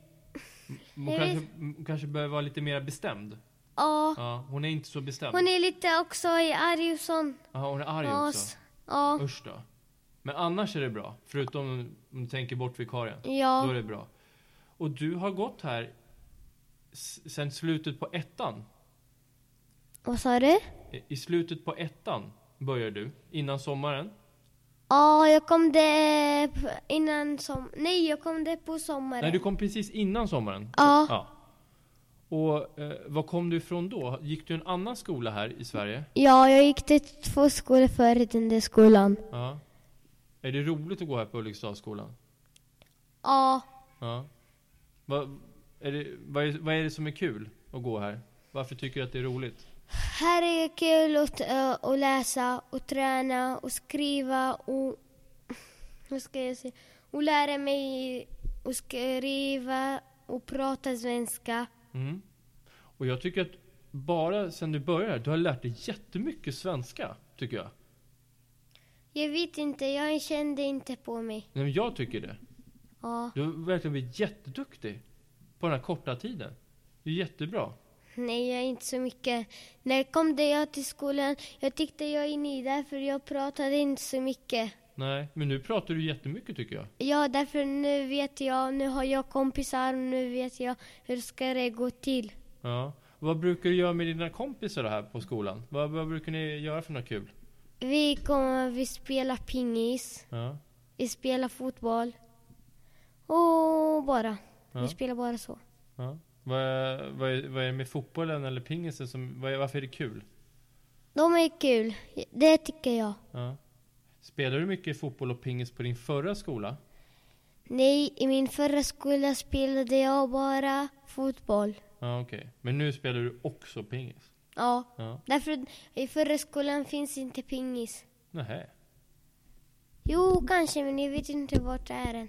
[SPEAKER 3] Hon kanske, hon kanske behöver vara lite mer bestämd.
[SPEAKER 4] ja,
[SPEAKER 3] Ja, hon är inte så bestämd.
[SPEAKER 4] hon är lite också i arg och sån.
[SPEAKER 3] Jaha, hon är arg
[SPEAKER 4] Ja,
[SPEAKER 3] också.
[SPEAKER 4] s- Ja,
[SPEAKER 3] Usch då. Men annars är det bra. Förutom om du tänker bort vikarien. Då är
[SPEAKER 4] ja,
[SPEAKER 3] det bra. Och du har gått här s- sen slutet på ettan.
[SPEAKER 4] vad sa du?
[SPEAKER 3] I- I slutet på ettan börjar du. Innan sommaren.
[SPEAKER 4] Ja, jag kom det p- innan som, nej jag kom det på sommaren.
[SPEAKER 3] Nej, du kom precis innan sommaren.
[SPEAKER 4] Ja.
[SPEAKER 3] Ja. Och eh, var kom du ifrån då? Gick du en annan skola här i Sverige?
[SPEAKER 4] Ja, jag gick till två skolor förut under skolan.
[SPEAKER 3] Ja. Är det roligt att gå här på Ulriksdalsskolan?
[SPEAKER 4] Ja,
[SPEAKER 3] Ja. Vad, är det, vad, är, vad är det som är kul att gå här? Varför tycker du att det är roligt?
[SPEAKER 4] här är kul att, eh, att läsa och träna och skriva och... Vad ska jag säga? Och lära mig att skriva och prata svenska.
[SPEAKER 3] Mm. Och jag tycker att bara sen du började här, du har lärt dig jättemycket svenska, tycker jag.
[SPEAKER 4] Jag vet inte, jag kände inte på mig.
[SPEAKER 3] Nej, men jag tycker det.
[SPEAKER 4] Ja,
[SPEAKER 3] Du har verkligen blivit jätteduktig på den här korta tiden. Det är jättebra.
[SPEAKER 4] nej, jag är inte så mycket. När kom det jag till skolan, jag tyckte jag är ny därför jag pratade inte så mycket.
[SPEAKER 3] Nej, men nu pratar du jättemycket tycker jag.
[SPEAKER 4] Ja, därför nu vet jag, nu har jag kompisar, nu vet jag hur ska det gå till.
[SPEAKER 3] Ja. Vad brukar du göra med dina kompisar här på skolan? Vad, vad brukar ni göra för något kul?
[SPEAKER 4] Vi kommer, vi spelar pingis,
[SPEAKER 3] Ja.
[SPEAKER 4] vi spelar fotboll och bara.
[SPEAKER 3] Ja.
[SPEAKER 4] Vi spelar bara så.
[SPEAKER 3] ja. Vad, vad, är, vad är det med fotbollen eller pingisen som, vad är, varför är det kul?
[SPEAKER 4] De är kul, det tycker jag.
[SPEAKER 3] Ja. Spelade du mycket fotboll och pingis på din förra skola?
[SPEAKER 4] Nej, i min förra skola spelade jag bara fotboll.
[SPEAKER 3] Ja, okej. Men nu spelar du också pingis?
[SPEAKER 4] Ja,
[SPEAKER 3] Ja.
[SPEAKER 4] därför i förra skolan finns inte pingis.
[SPEAKER 3] Nähä.
[SPEAKER 4] Jo, kanske, men jag vet inte vart det är än.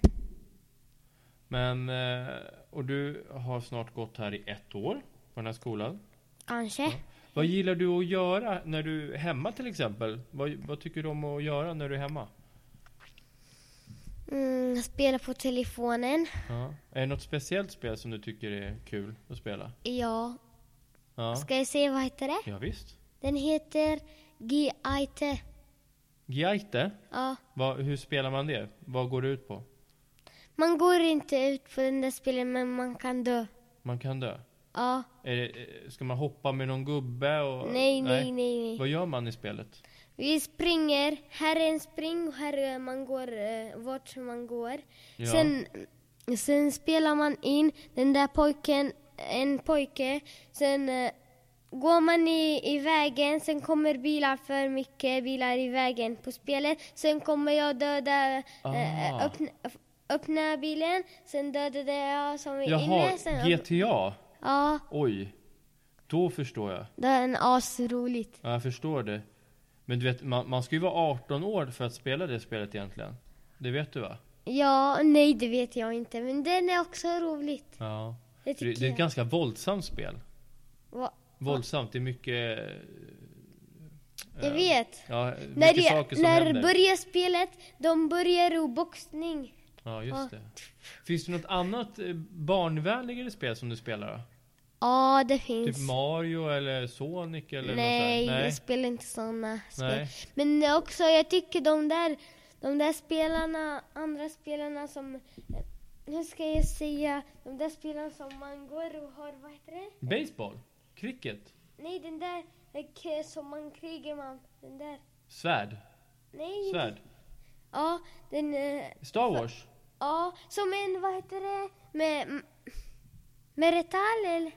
[SPEAKER 3] Men, eh, och du har snart gått här i ett år på den här skolan.
[SPEAKER 4] Kanske.
[SPEAKER 3] Vad gillar du att göra när du är hemma till exempel? Vad, vad tycker du om att göra när du är hemma?
[SPEAKER 4] Mm, spela på telefonen.
[SPEAKER 3] Ja. Är det något speciellt spel som du tycker är kul att spela?
[SPEAKER 4] Ja,
[SPEAKER 3] Ja,
[SPEAKER 4] Ska jag säga vad heter det?
[SPEAKER 3] ja visst.
[SPEAKER 4] Den heter Giaite.
[SPEAKER 3] Geite,
[SPEAKER 4] Ja.
[SPEAKER 3] vad, hur spelar man det? Vad går det ut på?
[SPEAKER 4] Man går inte ut på den där spelen men man kan dö.
[SPEAKER 3] Man kan dö.
[SPEAKER 4] Ja.
[SPEAKER 3] Är det, eh, ska man hoppa med någon gubbe? Och,
[SPEAKER 4] Nej, nej, nej, nej.
[SPEAKER 3] Vad gör man i spelet?
[SPEAKER 4] Vi springer. Här är en spring och här är man går eh, vart man går. Sen, sen spelar man in den där pojken, en pojke. Sen eh, går man i, i vägen. Sen kommer bilar för mycket bilar i vägen på spelet. Sen kommer jag döda,
[SPEAKER 3] Ah.
[SPEAKER 4] eh, öppna, öppna bilen. Sen dödade jag som är
[SPEAKER 3] Jaha,
[SPEAKER 4] inne. Sen,
[SPEAKER 3] GTA?
[SPEAKER 4] ja,
[SPEAKER 3] Oj. Då förstår jag.
[SPEAKER 4] det är en asroligt.
[SPEAKER 3] Ja, jag förstår det. Men du vet, man, man ska ju vara 18 år för att spela det spelet egentligen. Det vet du va?
[SPEAKER 4] Ja, nej det vet jag inte. Men den är också roligt.
[SPEAKER 3] Ja.
[SPEAKER 4] Det
[SPEAKER 3] Det,
[SPEAKER 4] tycker
[SPEAKER 3] det är ett
[SPEAKER 4] jag.
[SPEAKER 3] ganska våldsamt spel.
[SPEAKER 4] Va?
[SPEAKER 3] Våldsamt, det är mycket... eh,
[SPEAKER 4] Jag vet.
[SPEAKER 3] Ja, mycket
[SPEAKER 4] När,
[SPEAKER 3] saker
[SPEAKER 4] det,
[SPEAKER 3] som
[SPEAKER 4] när
[SPEAKER 3] händer.
[SPEAKER 4] börjar spelet? De börjar ro boxning.
[SPEAKER 3] Ja, just det. Finns det något annat eh, barnvänligare spel som du spelar då?
[SPEAKER 4] Ja, det finns.
[SPEAKER 3] Typ Mario eller Sonic eller
[SPEAKER 4] Nej,
[SPEAKER 3] något sånt där?
[SPEAKER 4] jag spelar inte såna spel.
[SPEAKER 3] Nej.
[SPEAKER 4] Men också, jag tycker de där, de där spelarna, andra spelarna som, eh, hur ska jag säga, de där spelarna som man går och har, vad heter det?
[SPEAKER 3] Baseball? Cricket?
[SPEAKER 4] Nej, den där eh, k- som man krigar man, den där.
[SPEAKER 3] Svärd?
[SPEAKER 4] Nej.
[SPEAKER 3] Svärd?
[SPEAKER 4] Ja, den, eh,
[SPEAKER 3] Star Wars?
[SPEAKER 4] ja, som en, vad heter det, med, med retall eller?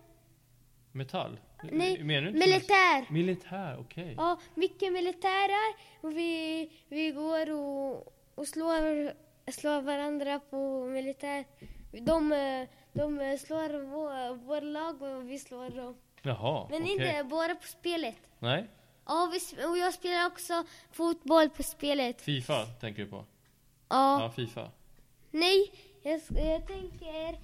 [SPEAKER 3] Metall?
[SPEAKER 4] Nej,
[SPEAKER 3] Menar du inte
[SPEAKER 4] militär.
[SPEAKER 3] Militär, okej.
[SPEAKER 4] Ja, mycket militärer. Och vi, vi går och, och slår, slår varandra på militär. De, eh, de eh, slår vår, vår lag och vi slår dem.
[SPEAKER 3] Jaha,
[SPEAKER 4] Men
[SPEAKER 3] okej.
[SPEAKER 4] inte bara på spelet.
[SPEAKER 3] Nej?
[SPEAKER 4] Ja, vi, sp- och jag spelar också fotboll på spelet.
[SPEAKER 3] Fifa tänker du på?
[SPEAKER 4] Ja,
[SPEAKER 3] Ja, Fifa.
[SPEAKER 4] nej, jag, s- jag tänker...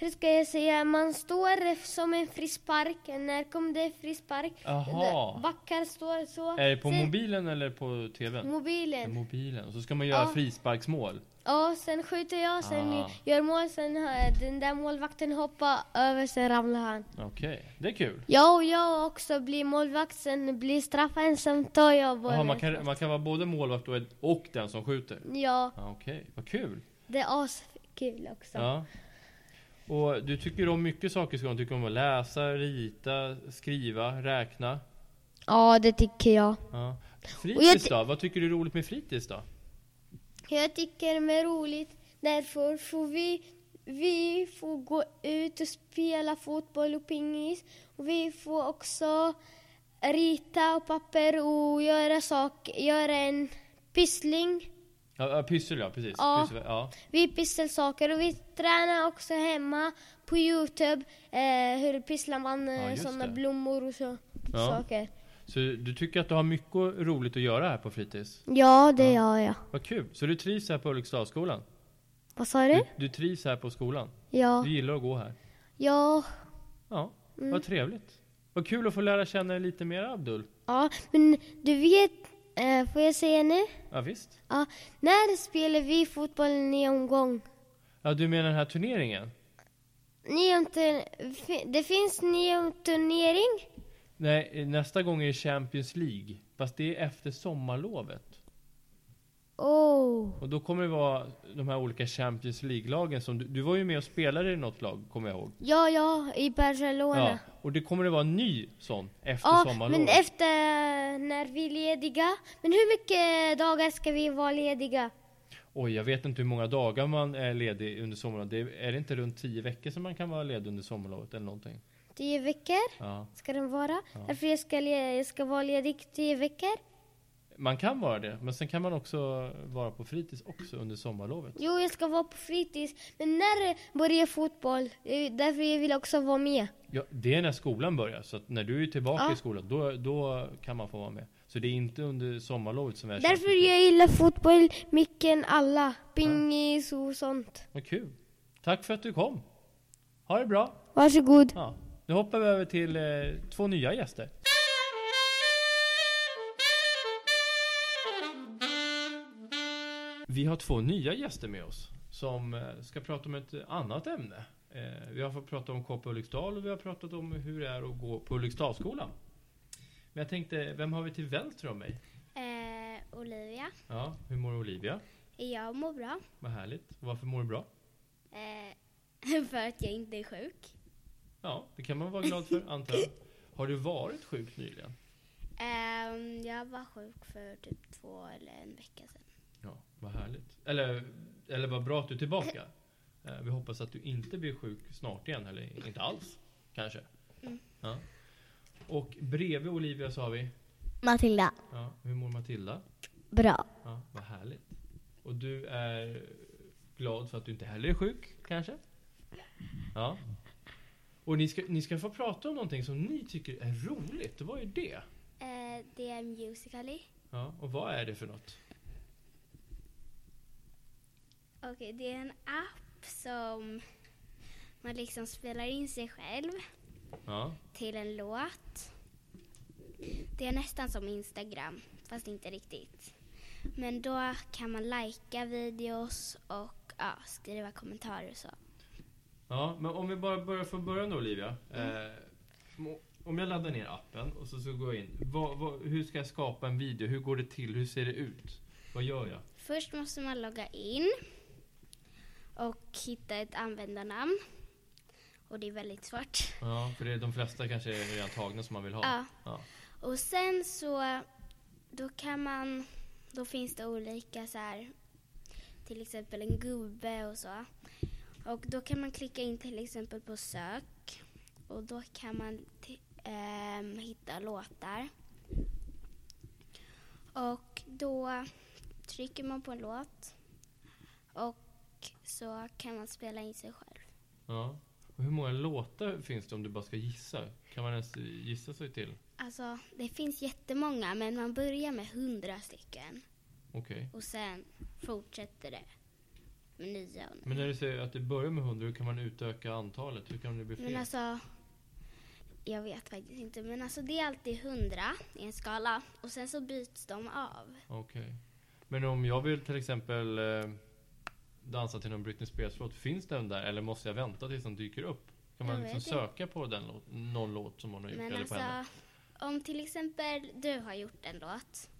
[SPEAKER 4] Hur ska jag säga? Man står som en frispark. När kom det frispark?
[SPEAKER 3] Jaha.
[SPEAKER 4] Backar står så.
[SPEAKER 3] Är det på
[SPEAKER 4] Sen-
[SPEAKER 3] mobilen eller på tvn?
[SPEAKER 4] Mobilen.
[SPEAKER 3] Mobilen. Och så ska man göra
[SPEAKER 4] Ja.
[SPEAKER 3] frisparksmål.
[SPEAKER 4] Ja, sen skjuter jag, sen
[SPEAKER 3] Ah.
[SPEAKER 4] gör mål, sen har- den där målvakten hoppar över, sen ramlar han.
[SPEAKER 3] Okej, det är kul.
[SPEAKER 4] Ja, och jag också blir målvakt, sen blir straffen, sen tar jag bollen.
[SPEAKER 3] Jaha, man, kan, man kan vara både målvakt och, en- och den som skjuter?
[SPEAKER 4] Ja,
[SPEAKER 3] Ja, Okej, vad kul.
[SPEAKER 4] det är askul också.
[SPEAKER 3] Ja. Och du tycker om mycket saker i skolan. Du tycker om att läsa, rita, skriva, räkna.
[SPEAKER 4] Ja, det tycker jag.
[SPEAKER 3] Ja.
[SPEAKER 4] Och jag
[SPEAKER 3] Fritids
[SPEAKER 4] ty-
[SPEAKER 3] då? Vad tycker du är roligt med fritids då?
[SPEAKER 4] Jag tycker det är roligt, därför får vi Vi får gå ut och spela fotboll och pingis. Och vi får också rita på papper och göra, sak, göra en pyssling.
[SPEAKER 3] Ja, ja, pyssel ja, precis.
[SPEAKER 4] Ja.
[SPEAKER 3] Pyssel, ja.
[SPEAKER 4] Vi pysselsaker och vi tränar också hemma på Youtube eh, hur pysslar man
[SPEAKER 3] Ja,
[SPEAKER 4] eh,
[SPEAKER 3] just
[SPEAKER 4] sådana
[SPEAKER 3] det.
[SPEAKER 4] blommor och så,
[SPEAKER 3] Ja.
[SPEAKER 4] saker.
[SPEAKER 3] Så du tycker att du har mycket roligt att göra här på fritids?
[SPEAKER 4] Ja, det gör jag.
[SPEAKER 3] Vad kul! Så du trivs här på Ulriksdalsskolan?
[SPEAKER 4] Vad sa
[SPEAKER 3] Du,
[SPEAKER 4] du?
[SPEAKER 3] du trivs här på skolan?
[SPEAKER 4] Ja. Mm.
[SPEAKER 3] Du gillar att gå här?
[SPEAKER 4] Ja.
[SPEAKER 3] Ja, vad trevligt. Vad kul att få lära känna dig lite mer Abdul.
[SPEAKER 4] Ja, men du vet, eh, får jag säga nu?
[SPEAKER 3] Ja, visst.
[SPEAKER 4] Ja, när spelar vi fotboll en ny omgång?
[SPEAKER 3] Ja, du menar den här turneringen?
[SPEAKER 4] Nionte, fi- det finns nio turnering.
[SPEAKER 3] Nej, nästa gång är det Champions League. Fast det är efter sommarlovet.
[SPEAKER 4] Oh.
[SPEAKER 3] Och då kommer det vara de här olika Champions League-lagen som... Du, du var ju med och spelade i något lag, kommer jag ihåg.
[SPEAKER 4] Ja, ja, i
[SPEAKER 3] Ja,
[SPEAKER 4] Barcelona.
[SPEAKER 3] och det kommer det vara en ny sån efter
[SPEAKER 4] Ja,
[SPEAKER 3] sommarlovet.
[SPEAKER 4] men efter när vi är lediga. Men hur mycket dagar ska vi vara lediga?
[SPEAKER 3] Oj, jag vet inte hur många dagar man är ledig under sommarlovet. Det är, är det inte runt tio veckor som man kan vara ledig under sommarlovet eller någonting?
[SPEAKER 4] Tio veckor
[SPEAKER 3] Ja.
[SPEAKER 4] ska den vara. Därför jag ska, le- jag ska vara ledig tio veckor.
[SPEAKER 3] Man kan vara det, men sen kan man också vara på fritids också under sommarlovet.
[SPEAKER 4] Jo, jag ska vara på fritids. Men när börjar fotboll? Eh, Därför jag vill också vara med.
[SPEAKER 3] Ja, det är när skolan börjar, så att när du är tillbaka
[SPEAKER 4] Ja.
[SPEAKER 3] i skolan, då, då kan man få vara med. Så det är inte under sommarlovet som är
[SPEAKER 4] Därför
[SPEAKER 3] Champions League.
[SPEAKER 4] jag gillar fotboll mycket än alla. Pingis och sånt.
[SPEAKER 3] Vad kul! Tack för att du kom! Ha det bra!
[SPEAKER 4] Varsågod.
[SPEAKER 3] Ja. Nu hoppar vi över till eh, två nya gäster. Vi har två nya gäster med oss som eh, ska prata om ett annat ämne. Eh, vi har fått prata om KP Ulriksdal och vi har pratat om hur det är att gå på Ulriksdalsskolan. Men jag tänkte, vem har vi till vänster om mig?
[SPEAKER 2] Eh, Olivia,
[SPEAKER 3] Ja, hur mår Olivia?
[SPEAKER 2] jag mår bra.
[SPEAKER 3] Vad härligt. Varför mår du bra?
[SPEAKER 2] Eh, (laughs) för att jag inte är sjuk.
[SPEAKER 3] Ja, det kan man vara glad för, antar jag. Har du varit sjuk nyligen?
[SPEAKER 2] Ehm, jag var sjuk för typ två eller en vecka sedan.
[SPEAKER 3] Ja, vad härligt. Eller, eller vad bra att du är tillbaka. Eh, Vi hoppas att du inte blir sjuk snart igen, eller inte alls kanske. Ja. Och bredvid Olivia så har vi,
[SPEAKER 5] Matilda,
[SPEAKER 3] ja, hur mår Matilda?
[SPEAKER 5] bra.
[SPEAKER 3] Ja, vad härligt. Och du är glad för att du inte heller är sjuk, kanske? Ja. Och ni ska, ni ska få prata om någonting som ni tycker är roligt. Vad är det?
[SPEAKER 2] Eh, det är Musical.ly.
[SPEAKER 3] Ja, och vad är det för något?
[SPEAKER 2] Okej, det är en app som man liksom spelar in sig själv
[SPEAKER 3] Ja,
[SPEAKER 2] till en låt. Det är nästan som Instagram, fast inte riktigt. Men då kan man lajka videos och ja, skriva kommentarer och så.
[SPEAKER 3] Ja, men om vi bara börjar från början då Olivia. Eh, må- om jag laddar ner appen och så, så går jag in. Vad, vad, hur ska jag skapa en video? Hur går det till? Hur ser det ut? Vad gör jag?
[SPEAKER 2] Först måste man logga in och hitta ett användarnamn. Och det är väldigt svårt.
[SPEAKER 3] Ja, för det, de flesta kanske är redan tagna som man vill ha.
[SPEAKER 2] Ja.
[SPEAKER 3] Ja.
[SPEAKER 2] Och sen så, då kan man, då finns det olika så här, till exempel en gubbe och så. Och då kan man klicka in till exempel på sök och då kan man ti- ehm, hitta låtar. Och då trycker man på en låt och så kan man spela in sig själv.
[SPEAKER 3] Ja. Och hur många låtar finns det om du bara ska gissa? Kan man ens gissa sig till?
[SPEAKER 2] Alltså, det finns jättemånga men man börjar med hundra stycken.
[SPEAKER 3] Okej.
[SPEAKER 2] Och sen fortsätter det med nya och nya.
[SPEAKER 3] Men när du säger att det börjar med 100, hur kan man utöka antalet? Hur kan det bli fler?
[SPEAKER 2] Men alltså, jag vet faktiskt inte. Men alltså det är alltid hundra i en skala och sen så byts de av.
[SPEAKER 3] Okej. Men om jag vill till exempel eh, dansa till någon Britney Spears-låt, finns den där eller måste jag vänta tills den dyker upp? Kan man
[SPEAKER 2] Jag
[SPEAKER 3] liksom
[SPEAKER 2] vet
[SPEAKER 3] söka på den låt, någon låt som hon har gjort
[SPEAKER 2] Men
[SPEAKER 3] eller på henne?
[SPEAKER 2] alltså, om till exempel du har gjort en låt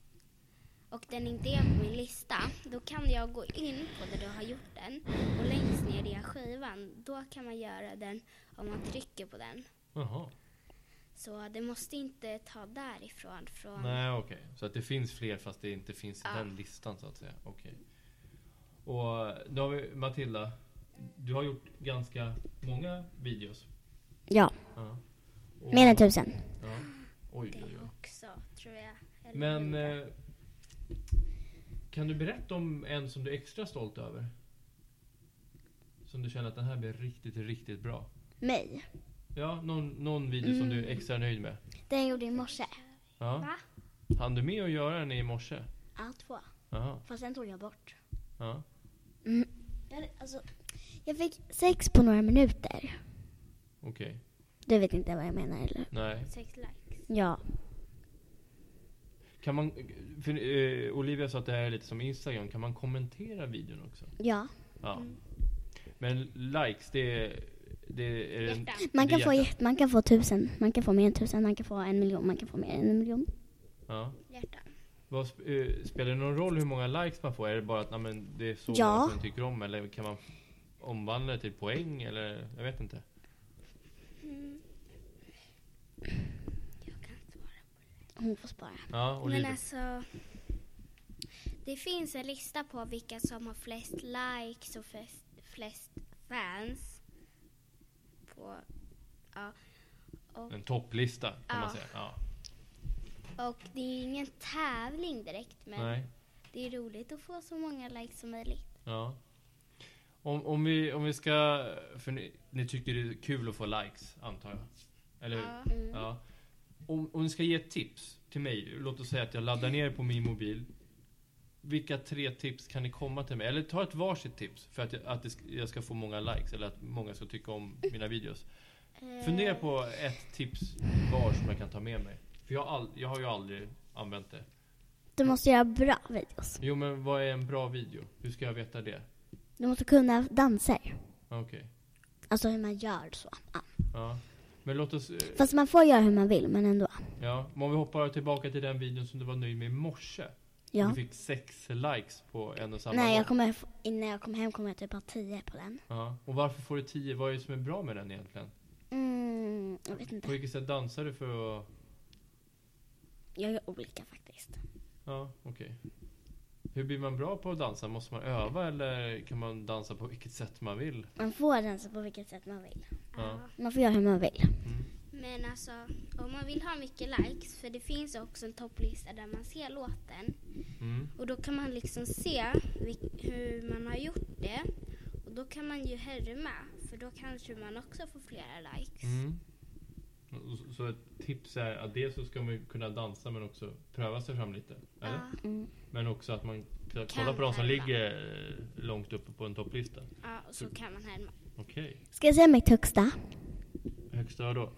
[SPEAKER 2] och den inte är på min lista, då kan jag gå in på där du har gjort den och längst ner i skivan, då kan man göra den om man trycker på den.
[SPEAKER 3] Jaha.
[SPEAKER 2] Så det måste inte ta därifrån. Från
[SPEAKER 3] Nej okej. Så att det finns fler fast det inte finns i
[SPEAKER 2] Ja.
[SPEAKER 3] eh, den listan så att säga. Okej. Och då har vi Matilda. Du har gjort ganska många videos.
[SPEAKER 6] Ja,
[SPEAKER 3] Ja. Och-
[SPEAKER 6] mer än tusen.
[SPEAKER 3] Ja. Oj, oj, oj.
[SPEAKER 2] också, tror jag. Eller
[SPEAKER 3] Men
[SPEAKER 2] mindre.
[SPEAKER 3] eh, kan du berätta om en som du är extra stolt över? Som du känner att den här blev riktigt, riktigt bra.
[SPEAKER 6] Mig.
[SPEAKER 3] Ja, någon, någon video som du är extra nöjd med.
[SPEAKER 6] Den gjorde i morse.
[SPEAKER 3] Ja.
[SPEAKER 2] Va?
[SPEAKER 3] Hann du med att göra den i morse?
[SPEAKER 6] Ja, två.
[SPEAKER 3] Jaha.
[SPEAKER 6] Fast den tog jag bort.
[SPEAKER 3] Ja.
[SPEAKER 6] Jag, alltså, jag fick sex på några minuter.
[SPEAKER 3] Okej.
[SPEAKER 6] Du vet inte vad jag menar eller?
[SPEAKER 3] Nej.
[SPEAKER 2] Sex likes.
[SPEAKER 6] Ja.
[SPEAKER 3] Kan man, för, eh, Olivia sa att det här är lite som Instagram. Kan man kommentera videon också?
[SPEAKER 6] Ja.
[SPEAKER 3] Ja.
[SPEAKER 2] Mm.
[SPEAKER 3] Men likes, det är... Det är en,
[SPEAKER 2] Hjärtan.
[SPEAKER 6] Man
[SPEAKER 3] det är
[SPEAKER 6] kan, få,
[SPEAKER 3] hjärtan.
[SPEAKER 6] jätte- man kan få tusen, man kan få mer än tusen, man kan få en miljon, man kan få mer än en miljon.
[SPEAKER 3] Ja.
[SPEAKER 2] Hjärtan.
[SPEAKER 3] Vad, sp- eh, spelar det någon roll hur många likes man får? Är det bara att nej, men det är så
[SPEAKER 6] Ja.
[SPEAKER 3] många som tycker om? Eller kan man omvandla det till poäng? Eller jag vet inte.
[SPEAKER 2] Jag kan inte svara.
[SPEAKER 6] Hon får spara.
[SPEAKER 3] Ja,
[SPEAKER 2] Men
[SPEAKER 3] Olivia.
[SPEAKER 2] alltså. Det finns en lista på vilka som har flest likes och flest, flest fans. På, ja. Och,
[SPEAKER 3] En topplista kan man
[SPEAKER 2] Ja.
[SPEAKER 3] säga. Ja.
[SPEAKER 2] och det är ingen tävling direkt men
[SPEAKER 3] Nej.
[SPEAKER 2] det är roligt att få så många likes som möjligt.
[SPEAKER 3] Ja. Om, om, vi, om vi ska... För ni, ni tycker det är kul att få likes, antar jag? Eller hur?
[SPEAKER 2] Ja.
[SPEAKER 3] Ja. Om, om ni ska ge ett tips till mig, låt oss säga att jag laddar ner på min mobil. Vilka tre tips kan ni komma till mig? Eller ta ett varsitt tips för att jag, att det sk- jag ska få många likes eller att många ska tycka om mina videos. Fundera på ett tips var som jag kan ta med mig. För jag, har all, jag har ju aldrig använt det.
[SPEAKER 6] Du måste göra bra videos.
[SPEAKER 3] Jo men vad är en bra video? Hur ska jag veta det?
[SPEAKER 6] Du måste kunna danser.
[SPEAKER 3] Okej.
[SPEAKER 6] Alltså hur man gör så. Ja.
[SPEAKER 3] Ja. Men låt oss... eh,
[SPEAKER 6] Fast man får göra hur man vill, men ändå.
[SPEAKER 3] Ja, men om vi hoppar tillbaka till den videon som du var nöjd med i morse. Du
[SPEAKER 6] Ja.
[SPEAKER 3] fick sex likes på en och samma
[SPEAKER 6] Nej,
[SPEAKER 3] gång.
[SPEAKER 6] jag kommer, f- innan jag kommer hem kommer jag typ ha tio på den.
[SPEAKER 3] Ja. Och varför får du 10? Vad är det som är bra med den egentligen?
[SPEAKER 6] Mm, jag vet
[SPEAKER 3] På
[SPEAKER 6] inte.
[SPEAKER 3] vilket sätt dansar du för att...
[SPEAKER 6] Jag gör olika faktiskt.
[SPEAKER 3] Ja, okej. Hur blir man bra på att dansa? Måste man öva eller kan man dansa på vilket sätt man vill?
[SPEAKER 6] Man får dansa på vilket sätt man vill.
[SPEAKER 3] Ja.
[SPEAKER 6] Man får göra hur man vill.
[SPEAKER 2] Men alltså, om man vill ha mycket likes, för det finns också en topplista där man ser låten.
[SPEAKER 3] Mm.
[SPEAKER 2] Och då kan man liksom se vil- hur man har gjort det. Och då kan man ju härma, för då kanske man också får flera likes.
[SPEAKER 3] Mm. Och så- Så ett tips är att dels så ska man ju kunna dansa men också pröva sig fram lite. Eller?
[SPEAKER 2] Ja,
[SPEAKER 3] Men också att man kan
[SPEAKER 2] Kan
[SPEAKER 3] kolla på de som
[SPEAKER 2] härma.
[SPEAKER 3] ligger eh, långt uppe på en topplista.
[SPEAKER 2] ja, och så kan man härma
[SPEAKER 3] Okej.
[SPEAKER 6] Ska jag säga mitt högsta?
[SPEAKER 3] Högsta vadå?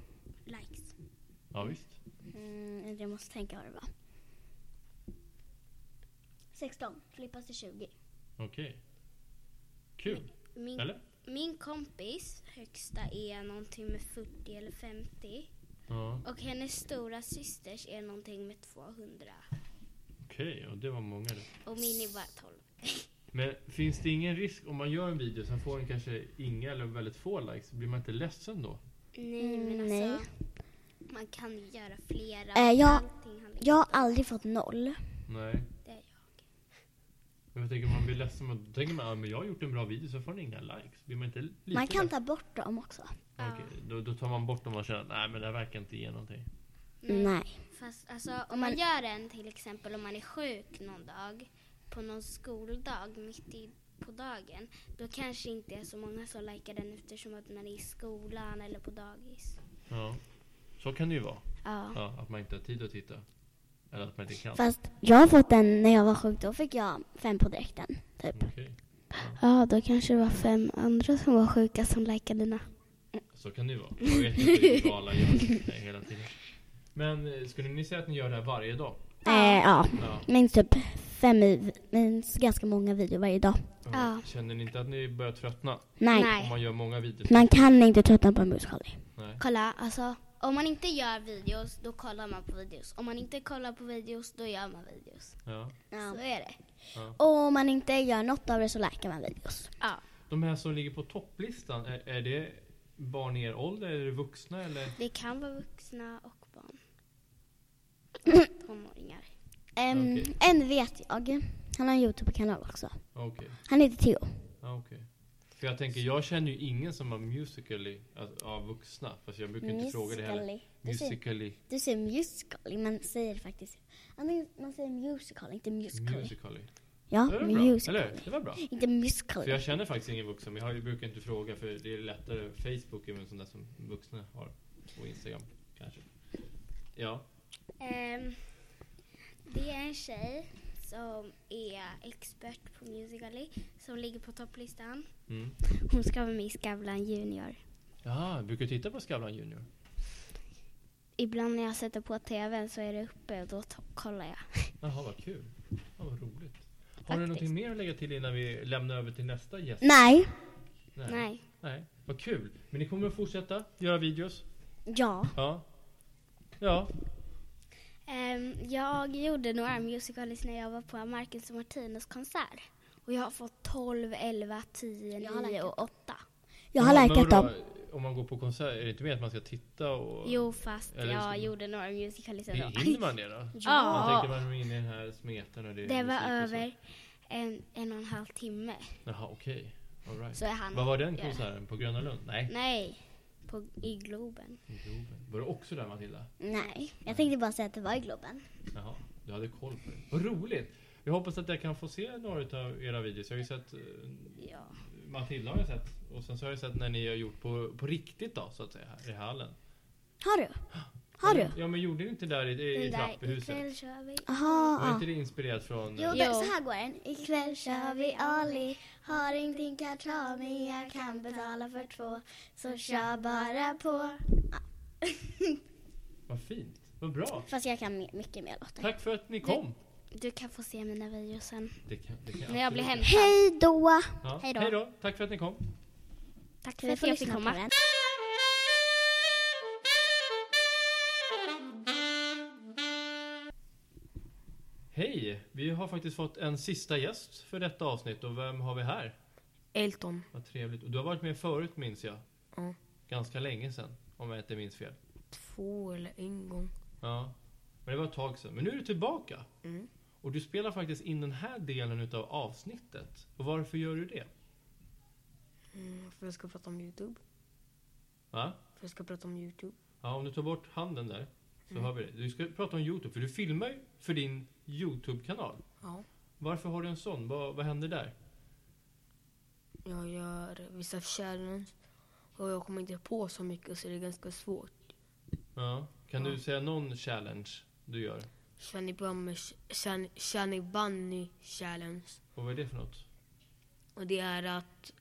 [SPEAKER 2] likes.
[SPEAKER 3] Ja, visst.
[SPEAKER 6] Mm, jag måste tänka vad det var. 16, flippas till 20.
[SPEAKER 3] Okej. Kul.
[SPEAKER 2] Min,
[SPEAKER 3] Eller?
[SPEAKER 2] min kompis högsta är någonting med 40 eller 50.
[SPEAKER 3] Ja.
[SPEAKER 2] Och hennes stora systers är någonting med 200.
[SPEAKER 3] Okej, och det var många det.
[SPEAKER 2] Och min är bara 12.
[SPEAKER 3] Men finns det ingen risk om man gör en video sen får den kanske inga eller väldigt få likes? Blir man inte ledsen då?
[SPEAKER 2] Nej, men
[SPEAKER 6] Mm,
[SPEAKER 2] alltså. Man kan ju göra flera.
[SPEAKER 6] Eh, jag-
[SPEAKER 2] Allting handlar
[SPEAKER 6] Jag har aldrig fått noll.
[SPEAKER 3] Nej.
[SPEAKER 2] Det är jag.
[SPEAKER 3] Men jag tänker man blir ledsen. Man, då tänker man ja, men jag har gjort en bra video så får den inga likes. Blir man inte lite
[SPEAKER 6] Man kan
[SPEAKER 3] ledsen?
[SPEAKER 6] ta bort dem också.
[SPEAKER 3] Okej, då, då tar man bort dem och känner att nej men det här verkar inte ge någonting.
[SPEAKER 2] Nej.
[SPEAKER 6] Nej.
[SPEAKER 2] Fast alltså, om, man gör en till exempel om man är sjuk någon dag på någon skoldag mitt i på dagen, då kanske inte är så många som likar den eftersom att man är i skolan eller på dagis.
[SPEAKER 3] Ja. Så kan det ju vara.
[SPEAKER 2] Ja.
[SPEAKER 3] Ja, att man inte har tid att titta. Eller att man inte kan.
[SPEAKER 6] Fast jag har fått en när jag var sjuk. Då fick jag fem på direkten. Typ.
[SPEAKER 3] Okej.
[SPEAKER 2] Ja, då kanske det var fem andra som var sjuka som likade dina.
[SPEAKER 3] Så kan det ju vara. Jag vet inte riktigt vad alla gör eh, hela tiden. Men eh, skulle ni säga att ni gör det här varje dag?
[SPEAKER 6] Eh, ja.
[SPEAKER 3] Ja.
[SPEAKER 6] Minst typ fem, i- minst ganska många videor varje dag.
[SPEAKER 2] Ja.
[SPEAKER 3] Känner ni inte att ni börjar tröttna?
[SPEAKER 6] Nej.
[SPEAKER 2] Nej.
[SPEAKER 3] Om man gör många videos?
[SPEAKER 6] Man kan inte tröttna på en muskallning.
[SPEAKER 3] Nej.
[SPEAKER 2] Kolla, alltså om man inte gör videos, då kollar man på videos. Om man inte kollar på videos, då gör man videos.
[SPEAKER 3] Ja.
[SPEAKER 6] Ja.
[SPEAKER 2] Så är det.
[SPEAKER 6] Och om man inte gör något av det så läkar man videos.
[SPEAKER 2] Ja.
[SPEAKER 3] De här som ligger på topplistan, är, är det barn i er ålder? Är det vuxna eller?
[SPEAKER 2] Det kan vara vuxna och barn. (clears throat) Tonåringar.
[SPEAKER 6] Ehm,
[SPEAKER 3] Okej.
[SPEAKER 6] En vet jag. Han har en Youtube-kanal också.
[SPEAKER 3] Okej.
[SPEAKER 6] Han heter Theo.
[SPEAKER 3] Ja, okej. För jag tänker, jag känner ju ingen som har musically alltså, av vuxna. Fast jag brukar inte fråga det heller.
[SPEAKER 6] Musically. Du säger-
[SPEAKER 3] Musically.
[SPEAKER 6] Du säger musical, men säger det faktiskt. Antingen man säger musical, inte musical.
[SPEAKER 3] Musically.
[SPEAKER 6] ja,
[SPEAKER 3] Det var bra,
[SPEAKER 6] musical.
[SPEAKER 3] eller hur? Det var bra.
[SPEAKER 6] Inte musical.
[SPEAKER 3] För jag känner faktiskt ingen vuxen. Men jag har ju- brukar inte fråga för det är lättare. Facebook är väl en sån där som vuxna har. Och Instagram kanske. Ja.
[SPEAKER 2] Ehm, det är en tjej som är expert på Musical.ly som ligger på topplistan.
[SPEAKER 3] Mm.
[SPEAKER 2] Hon ska vara med i Skavlan Junior.
[SPEAKER 3] Ja, brukar du titta på Skavlan Junior?
[SPEAKER 2] Ibland när jag sätter på tvn så är det uppe och då to- kollar jag.
[SPEAKER 3] Jaha, vad kul. Ja, vad roligt. Har du någonting mer att lägga till innan vi lämnar över till nästa gäst?
[SPEAKER 6] Nej.
[SPEAKER 2] Nej.
[SPEAKER 3] Nej, vad kul. Men ni kommer att fortsätta göra videos?
[SPEAKER 6] Ja.
[SPEAKER 3] Ja. Ja,
[SPEAKER 2] Ehm, jag gjorde några musicals när jag var på Marcus och Martinus konsert. Och jag har fått 12, 11, 10,
[SPEAKER 6] Jag har
[SPEAKER 2] 9
[SPEAKER 6] likat
[SPEAKER 2] och 8.
[SPEAKER 6] Jag har
[SPEAKER 3] Ja, men
[SPEAKER 6] likat
[SPEAKER 3] vadå?
[SPEAKER 6] dem.
[SPEAKER 3] Om man går på konsert, är det inte mer att man ska titta och...
[SPEAKER 2] Jo, fast
[SPEAKER 3] Eller
[SPEAKER 2] jag
[SPEAKER 3] så-
[SPEAKER 2] gjorde några musicals ändå.
[SPEAKER 3] Hinner man det då? Man
[SPEAKER 2] Ja,
[SPEAKER 3] tänker man är inne i den här smeten och det är
[SPEAKER 2] det var
[SPEAKER 3] musik och så.
[SPEAKER 2] över en, en och en halv timme.
[SPEAKER 3] Jaha, okej. All right.
[SPEAKER 2] Så är han
[SPEAKER 3] Vad var den
[SPEAKER 2] Ja.
[SPEAKER 3] konserten? På Gröna Lund? Nej.
[SPEAKER 2] Nej, på, i Globen.
[SPEAKER 3] I Globen. Var du också där Matilda?
[SPEAKER 6] Nej. Jag tänkte bara säga att det var i Globen.
[SPEAKER 3] Jaha, du hade koll på det. Vad roligt! Jag hoppas att jag kan få se några av era videos. Jag har ju sett eh,
[SPEAKER 2] Ja.
[SPEAKER 3] Matilda har jag sett. Och sen så har jag sett när ni har gjort på, på riktigt då, så att säga, här i hallen. (gasps)
[SPEAKER 6] Har du? Har du?
[SPEAKER 3] Ja, men gjorde ni inte där i, i, i
[SPEAKER 2] Den där,
[SPEAKER 3] trapphuset?
[SPEAKER 2] ikväll kör vi.
[SPEAKER 6] Aha.
[SPEAKER 3] Var inte det inspirerat från...
[SPEAKER 6] Jo,
[SPEAKER 3] eh,
[SPEAKER 6] jo. så här går den. Ikväll kör vi Ali. Har ingenting att ta men jag kan betala för två. Så kör bara på.
[SPEAKER 3] Vad fint! Vad bra!
[SPEAKER 6] Fast jag kan my- mycket mer låtar.
[SPEAKER 3] Tack för att ni kom!
[SPEAKER 2] Du kan få se mina videos sen.
[SPEAKER 3] Det kan, det kan
[SPEAKER 2] När jag blir
[SPEAKER 3] absolut-
[SPEAKER 2] hämtad.
[SPEAKER 6] Hej då!
[SPEAKER 3] Ja.
[SPEAKER 6] Hej då.
[SPEAKER 3] Hej då! Tack för att ni kom!
[SPEAKER 2] Tack för
[SPEAKER 6] Vi
[SPEAKER 2] att
[SPEAKER 6] får
[SPEAKER 2] jag fick
[SPEAKER 6] lyssna på
[SPEAKER 2] komma.
[SPEAKER 6] den.
[SPEAKER 3] Hej! Vi har faktiskt fått en sista gäst för detta avsnitt och vem har vi här?
[SPEAKER 7] Elton.
[SPEAKER 3] Vad trevligt. Och du har varit med förut minns jag.
[SPEAKER 7] Ja.
[SPEAKER 3] Ganska länge sedan, om jag inte minns fel.
[SPEAKER 7] Två eller en gång.
[SPEAKER 3] Ja. Men det var ett tag sedan. Men nu är du tillbaka!
[SPEAKER 7] Mm.
[SPEAKER 3] Och du spelar faktiskt in den här delen utav avsnittet. Och varför gör du det?
[SPEAKER 7] Mm, för jag ska prata om Youtube.
[SPEAKER 3] Va?
[SPEAKER 7] För jag ska prata om Youtube.
[SPEAKER 3] Ja, om du tar bort handen där så
[SPEAKER 7] Mm.
[SPEAKER 3] har vi det. Du ska prata om Youtube, för du filmar ju för din Youtube-kanal.
[SPEAKER 7] Ja.
[SPEAKER 3] Varför har du en sån? Vad, vad händer där?
[SPEAKER 7] Jag gör vissa challenge. Och jag kommer inte på så mycket så det är ganska svårt.
[SPEAKER 3] Ja. Kan
[SPEAKER 7] Ja.
[SPEAKER 3] du säga någon challenge du gör?
[SPEAKER 7] Shani Bunny, Shani, Shani Bunny challenge.
[SPEAKER 3] Och vad är det för något?
[SPEAKER 7] Och det är att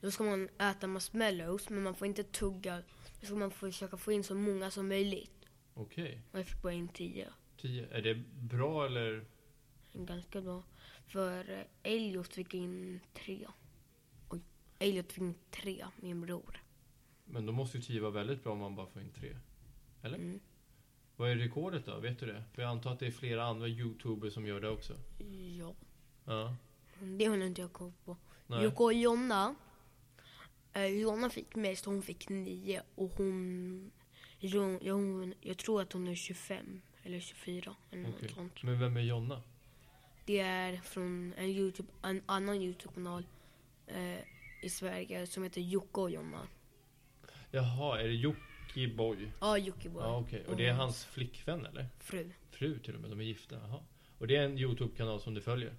[SPEAKER 7] då ska man äta marshmallows men man får inte tugga. Då ska man försöka få in så många som möjligt.
[SPEAKER 3] Okej.
[SPEAKER 7] Och jag fick bara in tio.
[SPEAKER 3] Tio. Är det bra eller?
[SPEAKER 7] Ganska bra. För eh, Elliot fick in tre. Oj, Elliot fick in tre, min bror.
[SPEAKER 3] Men då måste ju tio vara väldigt bra om man bara får in tre. Eller?
[SPEAKER 7] Mm.
[SPEAKER 3] Vad är rekordet då? Vet du det? För jag antar att det är flera andra Youtubers som gör det också.
[SPEAKER 7] Ja,
[SPEAKER 3] Ja.
[SPEAKER 7] det håller inte jag koll på.
[SPEAKER 3] Nej.
[SPEAKER 7] Jocke och Jonna. Eh, Jonna fick mest, hon fick nio. Och hon, jo- ja, hon... Jag tror att hon är 25 eller 24 eller
[SPEAKER 3] Okej.
[SPEAKER 7] något sånt.
[SPEAKER 3] Men vem är Jonna?
[SPEAKER 7] Det är från en, YouTube, en annan Youtube-kanal eh, i Sverige som heter Jocke och Jonna.
[SPEAKER 3] Jaha, är det Jockiboi?
[SPEAKER 7] Ja, Jockiboi.
[SPEAKER 3] Ja, okej. Och
[SPEAKER 7] Mm.
[SPEAKER 3] det är hans flickvän eller?
[SPEAKER 7] Fru.
[SPEAKER 3] Fru till och med, de är gifta. Jaha. Och det är en Youtube-kanal som du följer?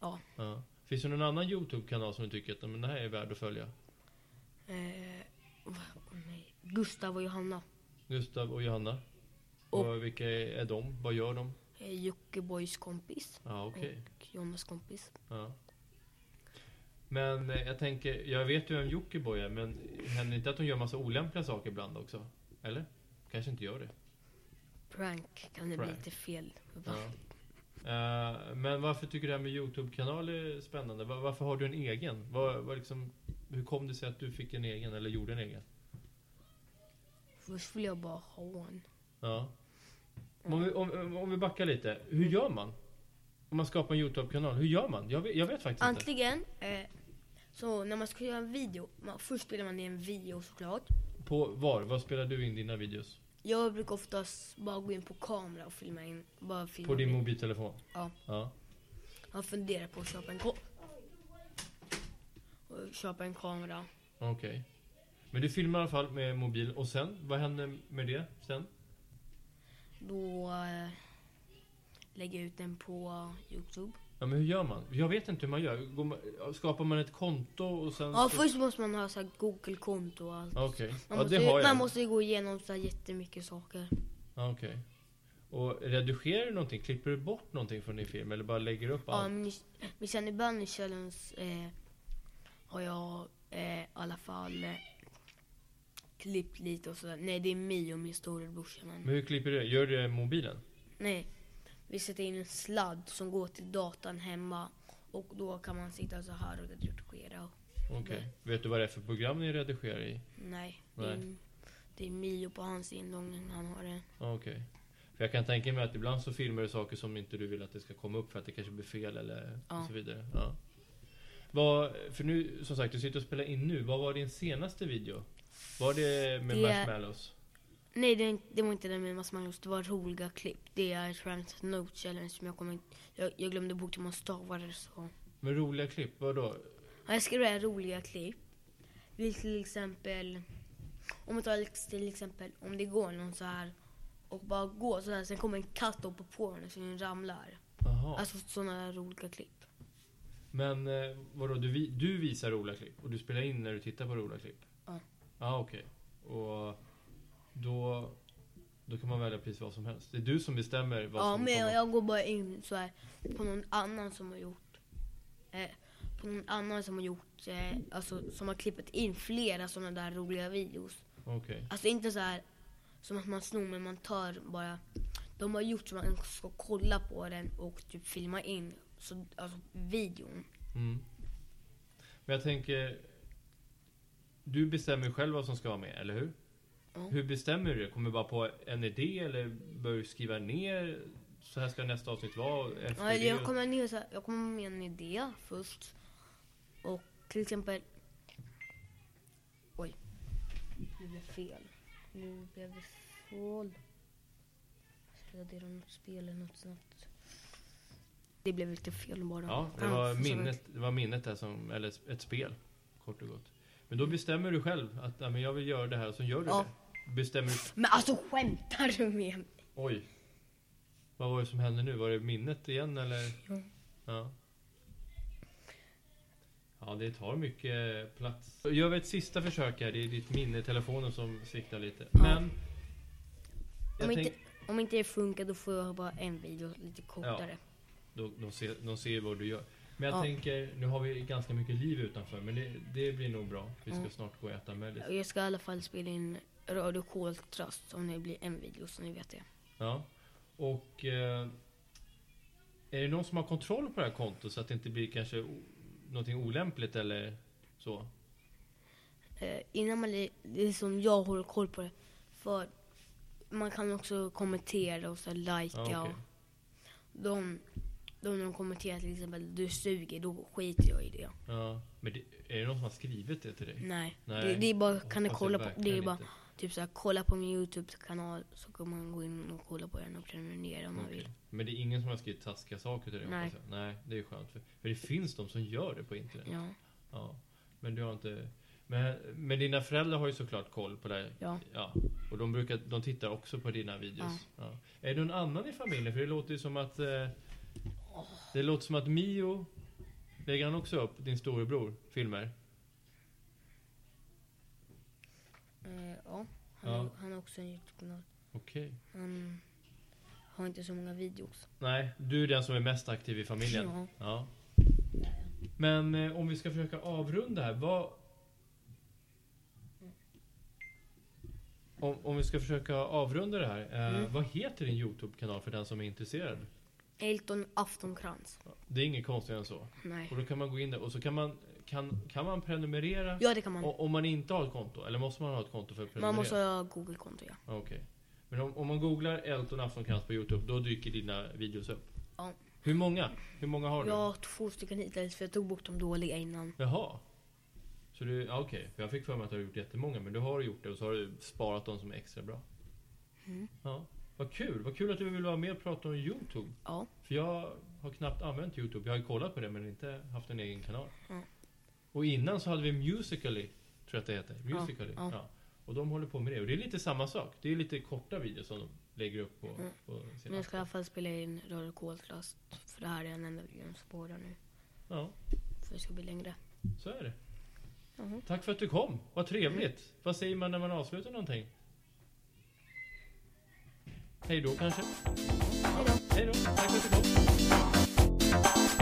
[SPEAKER 7] Ja.
[SPEAKER 3] Finns det någon annan Youtube-kanal som du tycker att men, den här är värd att följa?
[SPEAKER 7] Eh, vad- åh nej. Gustav och Johanna.
[SPEAKER 3] Gustav och Johanna?
[SPEAKER 7] Och-
[SPEAKER 3] Och vilka är, är de? Vad gör de?
[SPEAKER 7] Eh, Jockibois kompis.
[SPEAKER 3] Ja, okej.
[SPEAKER 7] Och Jonas kompis.
[SPEAKER 3] Ja. Men eh, jag tänker, jag vet ju vem Jockiboi är, men händer inte att hon gör massa olämpliga saker ibland också? Eller? Kanske inte gör det.
[SPEAKER 7] Prank kan det bli
[SPEAKER 3] Prank.
[SPEAKER 7] lite fel.
[SPEAKER 3] Ja. Eh, Men varför tycker du det här med Youtube-kanal är spännande? Va- Varför har du en egen? Vad, vad liksom, hur kom det sig att du fick en egen, eller gjorde en egen?
[SPEAKER 7] Först vill jag bara ha en.
[SPEAKER 3] Ja. Om, vi, om, om vi backar lite, hur gör man? Om man skapar en Youtube-kanal, hur gör man? Jag vet, jag vet faktiskt Typ inte.
[SPEAKER 7] Antingen, eh, så när man ska göra en video. Man, först spelar man in en video såklart.
[SPEAKER 3] På var? Var spelar du in dina videos?
[SPEAKER 7] Jag brukar oftast bara gå in på kamera och filma in. Bara filma
[SPEAKER 3] På din
[SPEAKER 7] in.
[SPEAKER 3] mobiltelefon?
[SPEAKER 7] Ja.
[SPEAKER 3] ja.
[SPEAKER 7] Han funderar på att köpa en ko- och köpa en kamera.
[SPEAKER 3] Okej. Men du filmar i alla fall med mobil och sen, vad händer med det sen?
[SPEAKER 7] Då eh, lägger jag ut den på Youtube.
[SPEAKER 3] Ja men hur gör man? Jag vet inte hur man gör. Går man- Skapar man ett konto och sen...
[SPEAKER 7] Ja,
[SPEAKER 3] så-
[SPEAKER 7] först måste man ha så här Google-konto och allt.
[SPEAKER 3] Okej. Mm. Ja
[SPEAKER 7] Man, måste,
[SPEAKER 3] det har
[SPEAKER 7] ju,
[SPEAKER 3] jag.
[SPEAKER 7] man måste ju gå igenom så här jättemycket saker.
[SPEAKER 3] Ja, Okej. Och redigerar du någonting? Klipper du bort någonting från din film eller bara lägger upp
[SPEAKER 7] Ja,
[SPEAKER 3] allt?
[SPEAKER 7] men, men sen i början i Challenge eh, har jag eh, i alla fall eh, klippt lite och sådär. Nej, det är Mio, min storebrorsa. Men,
[SPEAKER 3] Men hur klipper du? Gör du det i mobilen?
[SPEAKER 7] nej, vi sätter in en sladd som går till datan hemma och då kan man sitta så här och redigera. Och,
[SPEAKER 3] Okej. Vet du vad det är för program ni redigerar i?
[SPEAKER 7] nej, Det, är,
[SPEAKER 3] Nej.
[SPEAKER 7] det är Mio på hans inloggning. Han har en.
[SPEAKER 3] Ja, Okej. För jag kan tänka mig att ibland så filmar du saker som inte du vill att det ska komma upp för att det kanske blir fel eller
[SPEAKER 7] Ja.
[SPEAKER 3] och så vidare. Ja. Vad, för nu, som sagt, du sitter och spelar in nu. Vad var din senaste video? Var det med
[SPEAKER 7] Det-
[SPEAKER 3] marshmallows?
[SPEAKER 7] Nej, det, är inte- det var inte den med marshmallows. Det var roliga klipp. Det är Trans Note Challenge. Men jag, kommer, inte- jag, jag glömde bort hur man stavar det så.
[SPEAKER 3] Med roliga klipp? Vadå?
[SPEAKER 7] Ja, Jag skriver roliga klipp. Vi till exempel, om man tar till exempel om det går någon så här och bara går så här, sen kommer en katt upp på den så den ramlar.
[SPEAKER 3] Jaha.
[SPEAKER 7] Alltså sådana där roliga klipp.
[SPEAKER 3] Men eh, vadå, du, vi- du visar roliga klipp och du spelar in när du tittar på roliga klipp?
[SPEAKER 7] Ja.
[SPEAKER 3] Ja, okej. Och då, då kan man välja precis vad som helst. Det är du som bestämmer vad
[SPEAKER 7] Ja,
[SPEAKER 3] som
[SPEAKER 7] men jag,
[SPEAKER 3] kommer.
[SPEAKER 7] jag går bara in så här på någon annan som har gjort eh, på någon annan som har gjort, eh, alltså som har klippt in flera sådana där roliga videos.
[SPEAKER 3] Okej.
[SPEAKER 7] Alltså inte så här som att man snor men man tar bara de har gjort så man ska kolla på den och typ filma in så, alltså videon.
[SPEAKER 3] Mm. Men jag tänker... Du bestämmer ju själv vad som ska vara med, eller hur?
[SPEAKER 7] Ja.
[SPEAKER 3] Hur bestämmer du det? Kommer du bara på en idé eller börjar du skriva ner? Så här ska nästa avsnitt vara. Efter
[SPEAKER 7] Ja,
[SPEAKER 3] det?
[SPEAKER 7] jag kommer ner så här, jag kommer med en idé först och till exempel Oj. Nu blev det fel. Nu blev det fel. Ska jag dela något spel eller något snabbt? Det blev lite fel bara.
[SPEAKER 3] Ja, det var,
[SPEAKER 7] så-
[SPEAKER 3] minnet, det var minnet där som, eller ett spel. Kort och gott. Men då bestämmer du själv att ja, men jag vill göra det här och så gör du
[SPEAKER 7] Ja.
[SPEAKER 3] det. Bestämmer du...
[SPEAKER 7] Men alltså skämtar du med mig?
[SPEAKER 3] Oj. Vad var det som hände nu? Var det minnet igen eller?
[SPEAKER 7] Ja.
[SPEAKER 3] Ja. Ja, det tar mycket plats. Gör vi ett sista försök här. Det är ditt minne i telefonen som sviktar lite. Men... Jag
[SPEAKER 7] Om inte,
[SPEAKER 3] tänk-
[SPEAKER 7] om inte det funkar då får jag bara en video lite kortare.
[SPEAKER 3] De, de, ser, de ser ju vad du gör. Men jag
[SPEAKER 7] Ja.
[SPEAKER 3] tänker, nu har vi ganska mycket liv utanför men det, det blir nog bra. Vi ska
[SPEAKER 7] Mm.
[SPEAKER 3] snart gå och äta mellis.
[SPEAKER 7] Jag ska i alla fall spela in Radio Koltrast om det blir en video så ni vet det.
[SPEAKER 3] Ja. Och eh, är det någon som har kontroll på det här kontot så att det inte blir kanske o- någonting olämpligt eller så?
[SPEAKER 7] Eh, innan man, li- det är som jag håller koll på det. För man kan också kommentera och så här, likea.
[SPEAKER 3] Ja, okej.
[SPEAKER 7] och de, de, de kommenterar till exempel du suger, då skiter jag i det.
[SPEAKER 3] Ja. Men det, är det någon som har skrivit det till dig?
[SPEAKER 7] Nej.
[SPEAKER 3] Nej.
[SPEAKER 7] Det, det är bara, kan ni
[SPEAKER 3] Hoppas
[SPEAKER 7] kolla
[SPEAKER 3] jag
[SPEAKER 7] på, det är
[SPEAKER 3] verkligen
[SPEAKER 7] bara
[SPEAKER 3] inte.
[SPEAKER 7] typ så här, kolla på min Youtube-kanal så kan man gå in och kolla på den och prenumerera om man
[SPEAKER 3] Okej.
[SPEAKER 7] vill.
[SPEAKER 3] Men det är ingen som har skrivit taskiga saker till dig?
[SPEAKER 7] Nej.
[SPEAKER 3] hoppas jag. Nej, det är skönt. För, för det finns de som gör det på internet.
[SPEAKER 7] Ja.
[SPEAKER 3] Ja, men du har inte... Men, men dina föräldrar har ju såklart koll på det här.
[SPEAKER 7] Ja.
[SPEAKER 3] Och de, brukar, de tittar också på dina videos. Ja. Är det någon annan i familjen? För det låter ju som att... Eh, det låter som att Mio... Lägger han också upp, din storebror, filmer?
[SPEAKER 7] Eh, ja.
[SPEAKER 3] Ja.
[SPEAKER 7] Han, Har, han har också en Youtube-kanal.
[SPEAKER 3] Okej.
[SPEAKER 7] Han har inte så många videos.
[SPEAKER 3] Nej, du är den som är mest aktiv i familjen.
[SPEAKER 7] Ja.
[SPEAKER 3] Ja. Men eh, om vi ska försöka avrunda här, vad... Om, om vi ska försöka avrunda det här, eh,
[SPEAKER 7] Mm.
[SPEAKER 3] vad heter din Youtube-kanal för den som är intresserad?
[SPEAKER 7] Elton Aftonkrans.
[SPEAKER 3] Det är inget konstigt än så.
[SPEAKER 7] Nej.
[SPEAKER 3] Och då kan man gå in där och så kan man, kan, kan man prenumerera
[SPEAKER 7] Ja, det kan man.
[SPEAKER 3] o- om man inte har ett konto? Eller måste man ha ett konto för att prenumerera?
[SPEAKER 7] Man måste ha Google-konto, ja.
[SPEAKER 3] Okej. Men om, om man googlar Elton Aftonkrans på Youtube, då dyker dina videos upp?
[SPEAKER 7] Ja.
[SPEAKER 3] Hur många? Hur många har du?
[SPEAKER 7] Jag har två stycken hittills, för jag tog bort de dåliga innan.
[SPEAKER 3] Jaha. Så du, ja, okej. För jag fick för mig att du har gjort jättemånga, men du har gjort det och så har du sparat de som är extra bra.
[SPEAKER 7] Mm.
[SPEAKER 3] Ja. Vad kul! Vad kul att du vill vara med och prata om Youtube.
[SPEAKER 7] Ja.
[SPEAKER 3] För jag har knappt använt Youtube. Jag har ju kollat på det men inte haft en egen kanal.
[SPEAKER 7] Ja.
[SPEAKER 3] Och innan så hade vi Musical.ly, tror jag att det heter.
[SPEAKER 7] Ja,
[SPEAKER 3] Musical.ly. Ja,
[SPEAKER 7] ja.
[SPEAKER 3] Och de håller på med det. Och det är lite samma sak. Det är lite korta videos som de lägger upp på,
[SPEAKER 7] Mm.
[SPEAKER 3] på
[SPEAKER 7] Men
[SPEAKER 3] sina...
[SPEAKER 7] jag ska i alla fall spela in Radio Koltrast. För det här är den enda videon som pågår nu.
[SPEAKER 3] Ja,
[SPEAKER 7] För det ska bli längre.
[SPEAKER 3] så är det.
[SPEAKER 7] Mhm.
[SPEAKER 3] Tack för att du kom. Vad trevligt. Vad säger man när man avslutar någonting? Hej då kanske? Hej då. Tack för att du kom.